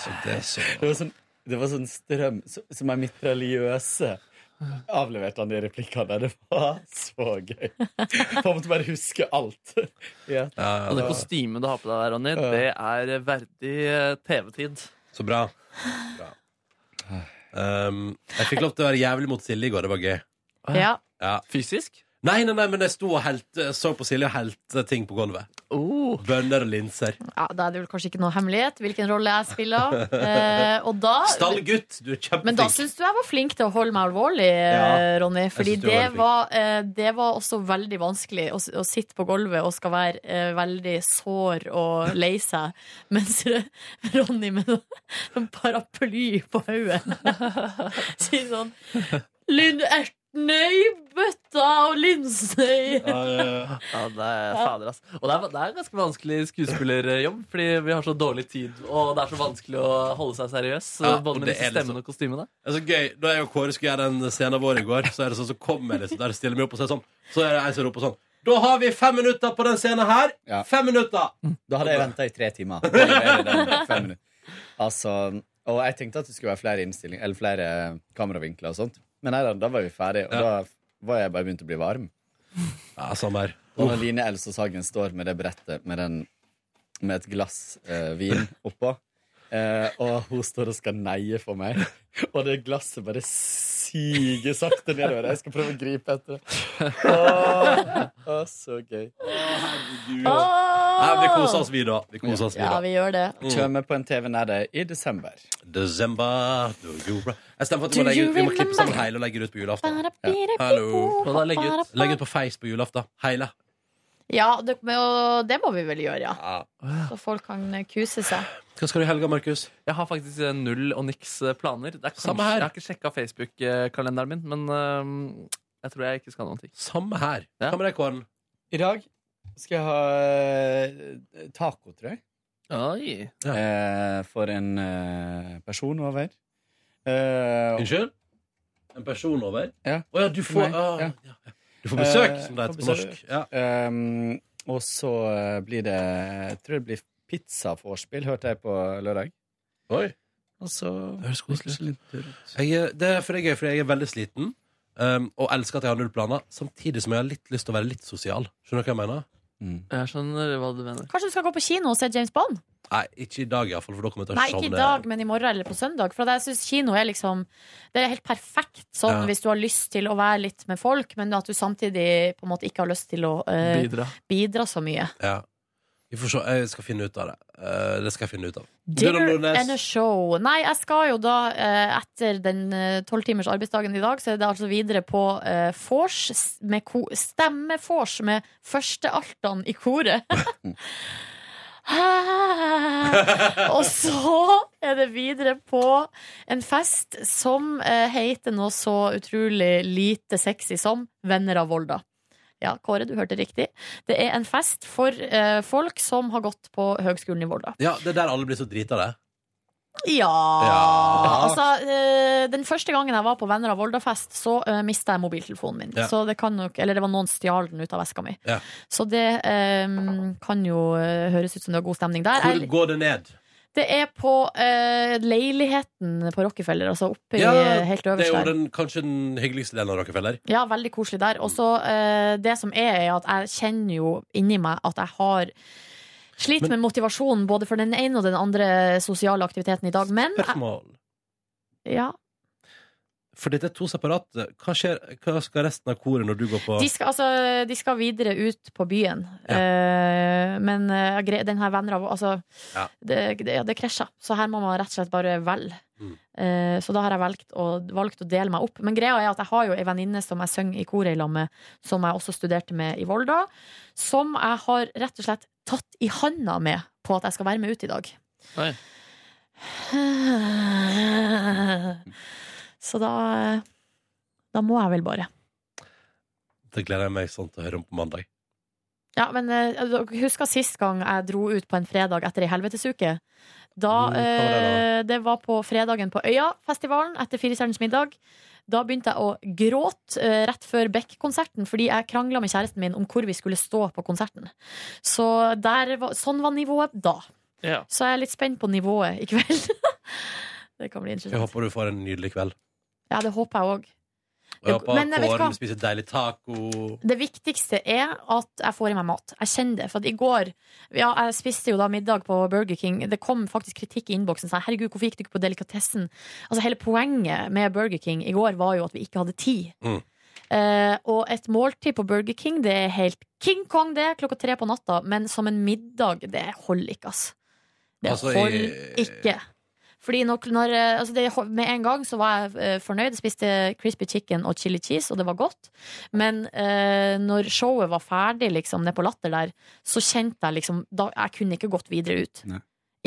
B: så det er så
E: Det var sånn, det var sånn strøm så- som er mitraljøse. Avleverte han de replikkene. Det var så gøy. Man måtte bare huske alt.
B: ja,
E: Ja.
B: ja,
C: Og det
B: da.
C: kostymet du har på deg, der, Ronny, det er verdig eh, TV-tid.
B: Så bra. bra. Um, jeg fikk lov til å være jævlig mot Silje i går. Det var gøy.
D: Ja.
B: Ja.
C: Fysisk?
B: Nei, nei, nei, men jeg sto og helte, så på Silje og helte ting på gulvet.
C: Oh.
B: Bønner og linser.
D: ja, Da er det vel kanskje ikke noe hemmelighet hvilken rolle jeg spiller. Eh, og da
B: Stallgutt, du er
D: Men da
B: kjempeflink.
D: syns du jeg var flink til å holde meg alvorlig, eh, Ronny. Fordi
B: synes du var
D: det
B: veldig flink.
D: var, eh, det var også veldig vanskelig å, s- å sitte på gulvet og skal være eh, veldig sår og lei seg, mens Ronny med noen noen paraply på hodet sier sånn Lynertene i bøtta og linsene i
C: Ja, det er fader, ass. Og det er, det er en ganske vanskelig skuespillerjobb, fordi vi har så dårlig tid, og det er så vanskelig å holde seg seriøs.
B: Ja, og
C: både med
B: det
C: disse
B: er liksom-
C: stemmene og kostymene.
B: Det er så gøy. Da jeg og Kåre skulle gjøre den scenen vår i går, så er det sånn, så kommer jeg liksom der og stiller meg opp og sier sånn. Så er det en som roper sånn. Da har vi fem minutter på den scenen her!
E: Ja.
B: Fem minutter!
E: Da hadde jeg venta i tre timer. Å levere den fem minutter. Altså, og jeg tenkte at det skulle være flere innstillinger Eller flere kameravinkler og sånt. Men nei da, da var vi ferdige, og da var jeg bare begynt å bli varm.
B: Ja, samme her.
E: Og når Line Else Sagen står med det brettet med, den, med et glass eh, vin oppå, eh, og hun står og skal neie for meg, og det glasset bare siger sakte nedover. Jeg skal prøve å gripe etter det. Åh, åh, så gøy.
B: Nei, vi koser oss, vi, da. Vi koser oss, vi,
D: Ja,
B: da.
D: vi gjør det.
E: Kommer på en TV nær deg i desember.
B: December, do you re- Jeg stemmer for at vi
D: Do
B: må, legge
D: you
B: ut, vi må klippe
D: remember?
B: sammen hele og legge det ut på julaften. Hallo.
C: Og da legge ut.
B: Legg ut på Face på julaften. Hele.
D: Ja, det, men, og det må vi vel gjøre, ja.
B: Ja.
D: Så folk kan eh, kuse seg.
B: Hva skal du i helga, Markus?
C: Jeg har faktisk eh, null og niks eh, planer. Det er kanskje,
B: Samme her.
C: Jeg har ikke sjekka Facebook-kalenderen min, men eh, jeg tror jeg ikke skal ha noen ting.
B: Samme her.
C: Ja.
B: Hva med deg, Kåren?
E: I dag skal jeg ha eh, taco, tror jeg.
C: Oi.
B: Ja.
E: eh, for en eh, person over. Eh,
B: Unnskyld? En person over?
E: Ja.
B: Å ja, du får
E: Meg,
B: ah,
E: ja.
B: ja, ja. Du får besøk,
E: Eh,
B: som det heter
E: får
B: på norsk.
E: besøk.
B: Ja.
E: ehm, og så eh, blir det Jeg tror det blir pizzaforspill, hørte jeg på lørdag.
B: Oi.
E: Og så
B: Det høres koselig ut.
E: litt tur ut.
B: Jeg, er- det er for det er gøy, for jeg er veldig sliten um, og elsker at jeg har null planer, samtidig som jeg har litt lyst til å være litt sosial. Skjønner du hva jeg mener?
C: Jeg skjønner hva du mener.
D: Kanskje du skal gå på kino og se James Bond?
B: Nei, ikke i dag iallfall, for da kommer jeg til å
D: Nei, ikke i
B: savne-
D: dag, men i morgen eller på søndag. For jeg syns kino er liksom Det er helt perfekt sånn
B: Ja.
D: hvis du har lyst til å være litt med folk, men at du samtidig på en måte ikke har lyst til å eh,
C: Bidra.
D: bidra så mye.
B: Ja. Vi får se. Jeg skal finne ut av det. Eh, det skal jeg finne ut av.
D: Dinner
B: Gunnar Nordnes.
D: and a show. Nei, jeg skal jo da, eh, etter den tolv timers arbeidsdagen i dag, så er det altså videre på eh, vors s- med ko- stemmevors med førstealtene i koret. Og så er det videre på en fest som eh, heter noe så utrolig lite sexy som Venner av Volda. Ja, Kåre, du hørte riktig. Det er en fest for eh, folk som har gått på Høgskolen i Volda.
B: Ja, det er der alle blir så drita, det.
D: Ja.
B: Ja.
D: Altså, eh, den første gangen jeg var på Venner av Volda-fest, så uh, mista jeg mobiltelefonen min.
B: Ja.
D: Så det kan nok, Eller det var noen stjal den ut av veska mi.
B: Ja.
D: Så det eh, kan jo eh, høres ut som det er god stemning der.
B: Hvor
D: Jeg-
B: går det ned?
D: det er på eh, leiligheten på Rockefeller, altså oppe i,
B: Ja,
D: helt
B: Det er
D: øverst
B: jo
D: der.
B: den, kanskje den hyggeligste delen av Rockefeller.
D: Ja, veldig koselig der. Og så eh, det som er, er at jeg kjenner jo inni meg at jeg har Sliter
B: Men-
D: med motivasjonen både for den ene og den andre sosiale aktiviteten i dag, men jeg,
B: Spørsmål.
D: ja,
B: For dette er to separate. Hva, skjer, hva skal resten av koret når du går på
D: De skal, altså, de skal videre ut på byen.
B: Ja.
D: Eh, men eh, gre- den her venner av altså,
B: Ja.
D: det, det, ja, det krasja. Så her må man rett og slett bare velge.
B: Mm.
D: Eh, så da har jeg valgt å, valgt å dele meg opp. Men greia er at jeg har jo ei venninne som jeg synger i koret i lag med, som jeg også studerte med i Volda. Som jeg har rett og slett tatt i handa med på at jeg skal være med ut i dag.
C: Oi.
D: Så da eh, Da må jeg vel bare.
B: Det gleder jeg meg sånn til å høre om på mandag.
D: Ja, men eh, dere husker sist gang jeg dro ut på en fredag etter ei helvetesuke? Da,
B: Mm, hva var det
D: eh, det var på fredagen på Øyafestivalen etter Firestjerners middag. Da begynte jeg å gråte eh, rett før Beck-konserten fordi jeg krangla med kjæresten min om hvor vi skulle stå på konserten. Så der var, sånn var nivået da.
C: Ja.
D: Så jeg er litt spent på nivået i kveld. det kan bli
B: Jeg
D: interessant.
B: håper du får en nydelig kveld.
D: Ja, det håper jeg òg.
B: Og jeg håper
D: Men jeg vet hva-
B: Kåren spiser deilig taco.
D: Det viktigste er at jeg får i meg mat. Jeg kjenner det. For at i går ja, Jeg spiste jo da middag på Burger King. Det kom faktisk kritikk i innboksen. Sa, Herregud, hvorfor gikk du ikke på delikatessen? Altså, hele poenget med Burger King i går var jo at vi ikke hadde tid.
B: Mm.
D: Eh, og et måltid på Burger King, det er helt King Kong, det, klokka tre på natta. Men som en middag, det holder ikke, ass. Det
B: Altså, i-
D: holder ikke. Fordi når, når, eh, altså det, Med en gang så var jeg eh, fornøyd. Jeg Spiste crispy chicken og chili cheese, og det var godt. Men eh, når showet var ferdig liksom, nede på Latter der, så kjente jeg liksom da, Jeg kunne ikke gått videre ut.
E: Nei.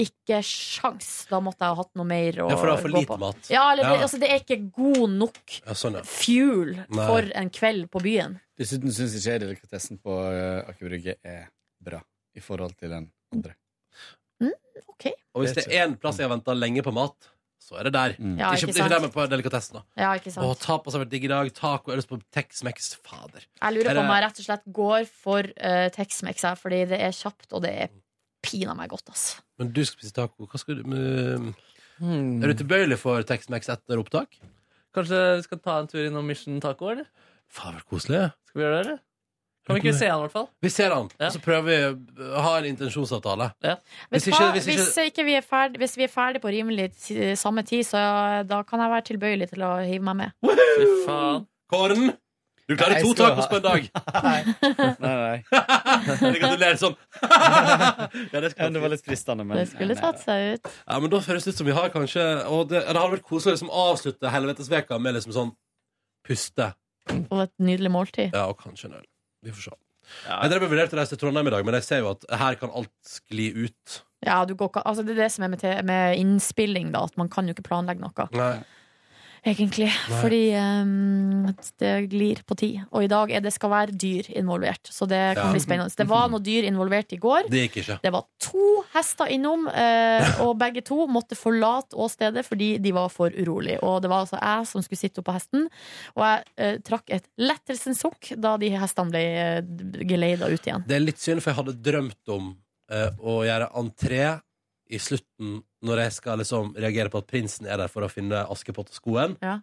D: Ikke sjans! Da måtte jeg ha hatt noe mer å
B: Ja, for det er for
D: gå
B: lite
D: på.
B: mat.
D: Ja, eller,
B: Ja.
D: Det, altså, det er ikke god nok
B: Ja, sånn, ja.
D: fuel
B: Nei.
D: for en kveld på byen.
E: Dessuten syns ikke jeg delikatessen på eh, Aker Brygge er bra i forhold til den andre.
D: OK.
B: Og hvis det er én plass jeg har venta lenge på mat, så er det der.
E: Mm.
D: Ja,
B: ikke,
D: ikke
B: ikke der,
D: sant?
B: men på delikatessen. da
D: Ja,
B: Å,
D: ikke sant?
B: tapas altså, har vært digg i dag. Taco ellers på Tex-Mex. Fader.
D: Jeg lurer
B: er
D: på om
B: det-
D: jeg rett og slett går for uh, Tex-Mex her, fordi det er kjapt, og det er pinadø meg godt, ass.
B: Men du skal spise taco. Hva skal du men, eh,
C: Hmm.
B: Mm. Er du tilbøyelig for Tex-Mex etter opptak?
C: Kanskje vi skal ta en tur innom Mission Taco, eller?
B: Faen, så koselig.
C: Skal vi gjøre det, eller? Kan vi ikke se han, i hvert fall?
B: Vi ser han, og så prøver vi å ha en intensjonsavtale.
D: Vet
B: Hvis
D: du
B: ikke,
D: hva?
B: hvis ikke
D: Hvis, ikke vi er ferdig, hvis vi er ferdig på rimelig ti- samme tid, så eh, da kan jeg være tilbøyelig til å hive meg med.
C: Fy faen.
B: Kåren! Du klarer
E: Nei,
B: to
E: jeg skal
B: tacos
E: ha-
B: på en dag!
E: Nei, nei.
B: Eller gratulerer sånn. ja, det
E: Ja,
B: skal
E: det var litt fristende, men
D: Det skulle tatt seg ut.
B: Ja, men da høres det ut som vi har kanskje Og det, det hadde vært koselig å liksom avslutte helvetesveka med liksom sånn puste.
D: Og et nydelig måltid.
B: Ja, og kanskje en øl. Vi får se. Jeg drev og vurderte å reise til Trondheim i dag, men jeg ser jo at her kan alt skli ut.
D: Ja, du går, ikke- altså det er det som er med, te- med innspilling, da, at man kan jo ikke planlegge noe,
B: Nei.
D: egentlig. Fordi ehm, det glir på tid. Og i dag er det skal være dyr involvert, så det kan
B: Ja.
D: bli spennende. Det var noe dyr involvert i går.
B: Det gikk ikke.
D: Det var to hester innom, eh, og begge to måtte forlate åstedet fordi de var for urolige. Og det var altså jeg som skulle sitte opp på hesten, og jeg eh, trakk et lettelsens sukk da de hestene ble eh, geleida ut igjen.
B: Det er litt synd, for jeg hadde drømt om eh, å gjøre entré i slutten, når jeg skal liksom reagere på at prinsen er der for å finne Askepott og skoen.
D: Ja.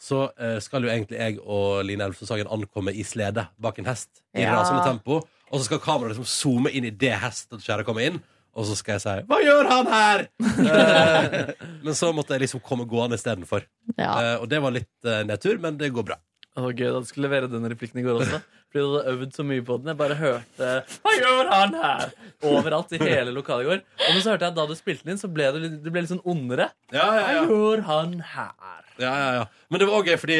B: Så eh, skal jo egentlig jeg og Line Elvsåshagen ankomme i slede bak en hest. I
D: Ja.
B: rasende tempo. Og så skal kameraet liksom zoome inn i det hesten skjæret kommer inn. Og så skal jeg si 'Hva gjør han her?' Eh, men så måtte jeg liksom komme gående istedenfor.
D: Ja.
B: Eh, og det var litt eh, nedtur, men det går bra.
C: Det var gøy da du skulle levere den replikken i går også. Fordi du hadde øvd så mye på den. Jeg bare hørte Hva gjør han her? Overalt i hele lokalet i går. Og men så hørte jeg at da du spilte den inn, så ble du, litt- du ble litt sånn ondere.
B: Ja, ja,
C: Hva gjør han her?
B: Ja, ja, ja. Men det var også gøy, fordi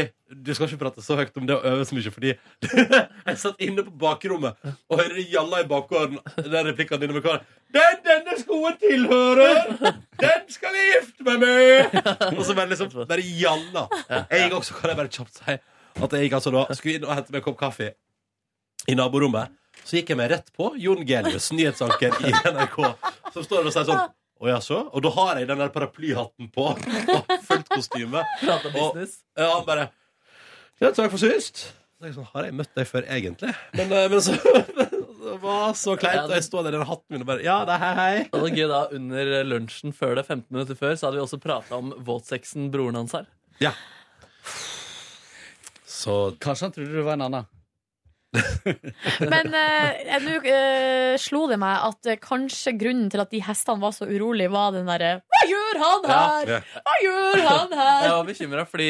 B: du skal ikke prate så høyt om det å øve så mye, fordi jeg satt inne på bakrommet og hører det jalla i bakgården, den replikken dine med Karen. Den denne skoen tilhører! Den skal jeg gifte meg med! Og så bare liksom, bare jalla. Jeg gikk også, kan jeg bare kjapt si, at jeg gikk altså da, skulle inn og hente meg en kopp kaffe i naborommet. Så gikk jeg meg rett på Jon Gelius, nyhetsanker i NRK, som står og sier sånn, og ja, så? Og da har jeg den der paraplyhatten på, og fullt kostyme.
C: Prata
B: Og-
C: business.
B: ja, han bare Ja, takk for sist. Så tenkte jeg sånn, Har jeg møtt deg før, egentlig? Men, eh, men så Det var så kleint. Og jeg står der i den hatten min og bare Ja, det er hei, hei.
C: Og det var gøy da, Under lunsjen før det, 15 minutter før, så hadde vi også prata om våtsexen broren hans har.
B: Ja. Så
E: Kanskje han trodde du var en annen.
D: Men eh, nå eh, slo det meg at eh, kanskje grunnen til at de hestene var så urolige, var den derre 'Hva gjør han her?!
B: Ja.
D: Hva gjør han
C: Jeg
D: her?!
C: var bekymra fordi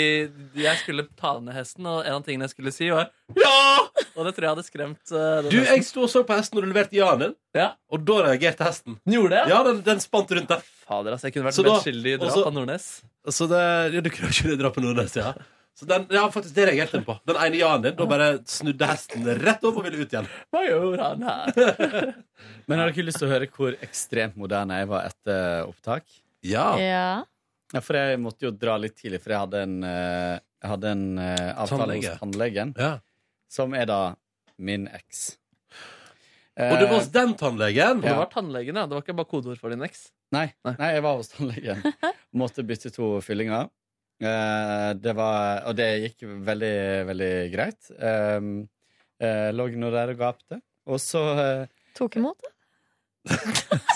C: jeg skulle ta ned hesten, og en av tingene jeg skulle si, var ja! Og det tror jeg hadde skremt eh, den
B: Du,
C: hesten.
B: jeg sto og så på hesten når du leverte ja-en din,
C: Ja.
B: og da reagerte hesten.
C: Den Gjorde det?
B: Ja, den, den spant rundt der.
C: Fader, altså, jeg kunne vært
B: Så da-
C: medskyldig i drap
B: også-
C: av Nordnes.
B: Så det ja, Du kunne jo ikke dra på Nordnes, ja. Så den, ja, faktisk, det reagerte den på. Den ene ja-en din. Da bare snudde hesten rett opp og ville ut igjen.
C: Hva gjør han her?
E: Men har dere lyst til å høre hvor ekstremt moderne jeg var etter opptak?
B: Ja.
D: Ja.
E: Ja, for jeg måtte jo dra litt tidlig, for jeg hadde en, eh, jeg hadde en eh, avtale
B: Tannlege.
E: hos tannlegen,
B: ja.
E: som er da min eks.
B: Og det
E: Eh,
B: var hos den tannlegen.
C: Det
E: Ja.
C: var tannlegen, ja. Det var ikke bare kodeord for din eks.
E: Nei,
C: Nei.
E: Eh, nei, jeg var hos tannlegen. Måtte bytte to fyllinger. Eh, det var, og det gikk veldig, veldig greit. Um, uh, lå nå der og gapte. Og så eh,
D: Tok imot det?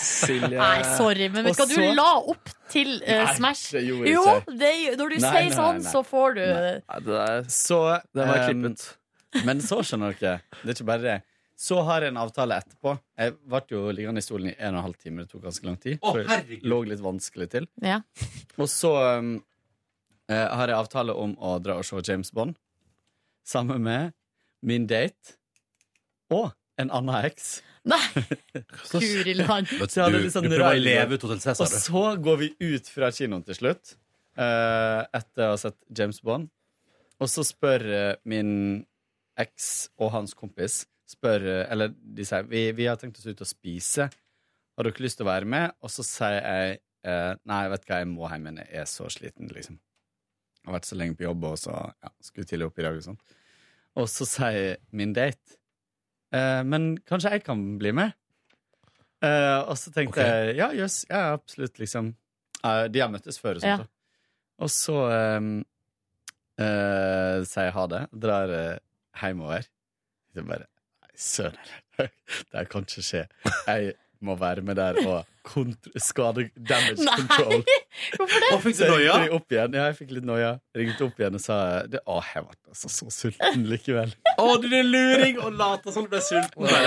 E: Silje
D: Nei, sorry, men vet du hva,
E: Og så-
D: du la opp til eh, Smash.
E: det gjorde jeg
D: Jo,
E: ikke.
D: det, når du
E: Nei,
D: sier
E: nei,
D: sånn,
E: nei.
D: så får du
C: Nei, det der
E: Så
C: Den var
E: ehm,
C: klippet.
E: Men så skjønner dere. Det er ikke bare det. Så har jeg en avtale etterpå. Jeg ble jo liggende i stolen i en og en halv time. Det tok ganske lang tid.
B: Å,
E: for jeg
B: herregud.
E: lå litt vanskelig til.
D: Ja.
E: Og så um, eh, har jeg avtale om å dra og se James Bond sammen med min date og en annen eks.
D: Nei, guri land.
B: Vet
E: Så
B: Du,
E: jeg hadde
B: du
E: litt sånn
B: prøver å
E: rar-
B: leve ut Hotell
E: Og
B: Cæsar, du.
E: så går vi ut fra kinoen til slutt, eh, etter å ha sett James Bond. Og så spør eh, min eks og hans kompis spør, eh, Eller de sier vi, vi har tenkt oss ut og spise. Har dere lyst til å være med? Og så sier jeg eh, nei, vet du hva, jeg må hjem igjen. Jeg er så sliten, liksom. Jeg har vært så lenge på jobb, og så ja, skulle tidlig opp i dag og sånn. Og så sier min date eh, Men kanskje jeg kan bli med? Eh, og så tenkte
B: Ok.
E: jeg ja, jøss, ja, absolutt, liksom. Eh, de har møttes før og
D: Ja.
E: sånt. da. Og så eh, eh, sier jeg ha det, drar eh, hjemover. Så bare Nei, søren heller, det her kan ikke skje. Jeg må være med der og kont- skade damage
D: Nei.
E: control.
D: Hvorfor det?
E: Og fikk du noia? Jeg opp igjen. Ja, jeg fikk litt noia. Ringte opp igjen og sa det, Å, jeg ble altså så sulten likevel.
B: Å, du er luring og later som du ble sulten.
E: Jeg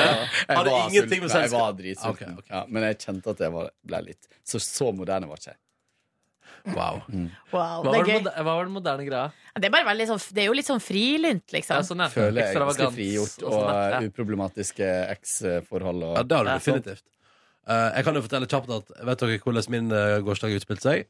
B: Hadde
E: var
B: ingenting med
E: sulten. Jeg var
B: selskap.
E: dritsulten. Ja, men jeg kjente at jeg var, ble litt Så så moderne var ikke jeg.
B: Wow.
D: Wow,
C: Hva
D: det
C: var,
D: er
C: den
D: gøy.
C: moder- hva var den moderne greia?
D: Det er, bare veldig sånn, det er jo litt sånn frilynt, liksom.
C: Ja, sånn, ja.
E: Føler jeg er ganske
C: Ekstravagans
E: frigjort
C: og
E: og
C: sånn, ja.
E: eh, uproblematiske eks-forhold.
B: Ja,
E: Og,
B: det har du
C: Ja.
B: definitivt. Eh, jeg kan jo fortelle kjapt at Vet dere hvordan min eh, gårsdag utspilte seg?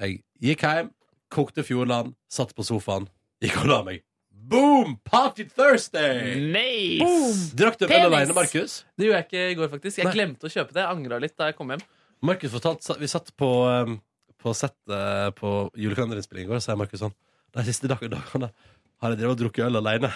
B: Jeg gikk hjem, kokte Fjordland, satt på sofaen, gikk og la meg. Boom! Party Thursday!
C: Nice!
B: Drakk du en øl
D: Penis.
B: alene, Markus?
C: Det gjorde jeg ikke i går, faktisk. Jeg
B: Nei.
C: glemte å kjøpe det. Jeg angra litt da jeg kom hjem.
B: Markus fortalte Vi satt på, um, på sett eh, på julekalenderinnspilling i går, og sa Markus sånn De siste dag- dagene har jeg drevet og drukket øl alene.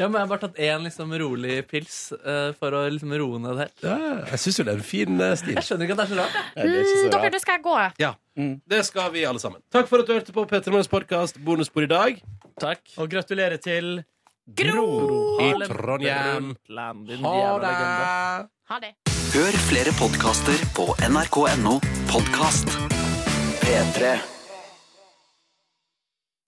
C: Ja, men Jeg har bare tatt én liksom, rolig pils eh, for å liksom, roe ned det helt.
B: Ja, jeg syns jo det er en fin eh, stil.
C: Jeg skjønner ikke at det er så rart. jeg.
E: Nei, det er ikke
D: Mm,
E: så
D: dere,
E: rart.
D: nå skal jeg gå.
B: Det skal vi alle sammen. Takk for at du hørte på P3 Morgens podkast Bonusbord i dag.
C: Takk.
E: Og gratulerer til
B: I
C: Harlem,
B: Trondheim.
C: Brundtland, din
B: Ha
C: jævla legende.
B: det!
D: Ha det.
K: Hør flere podkaster på nrk.no podkast. P3.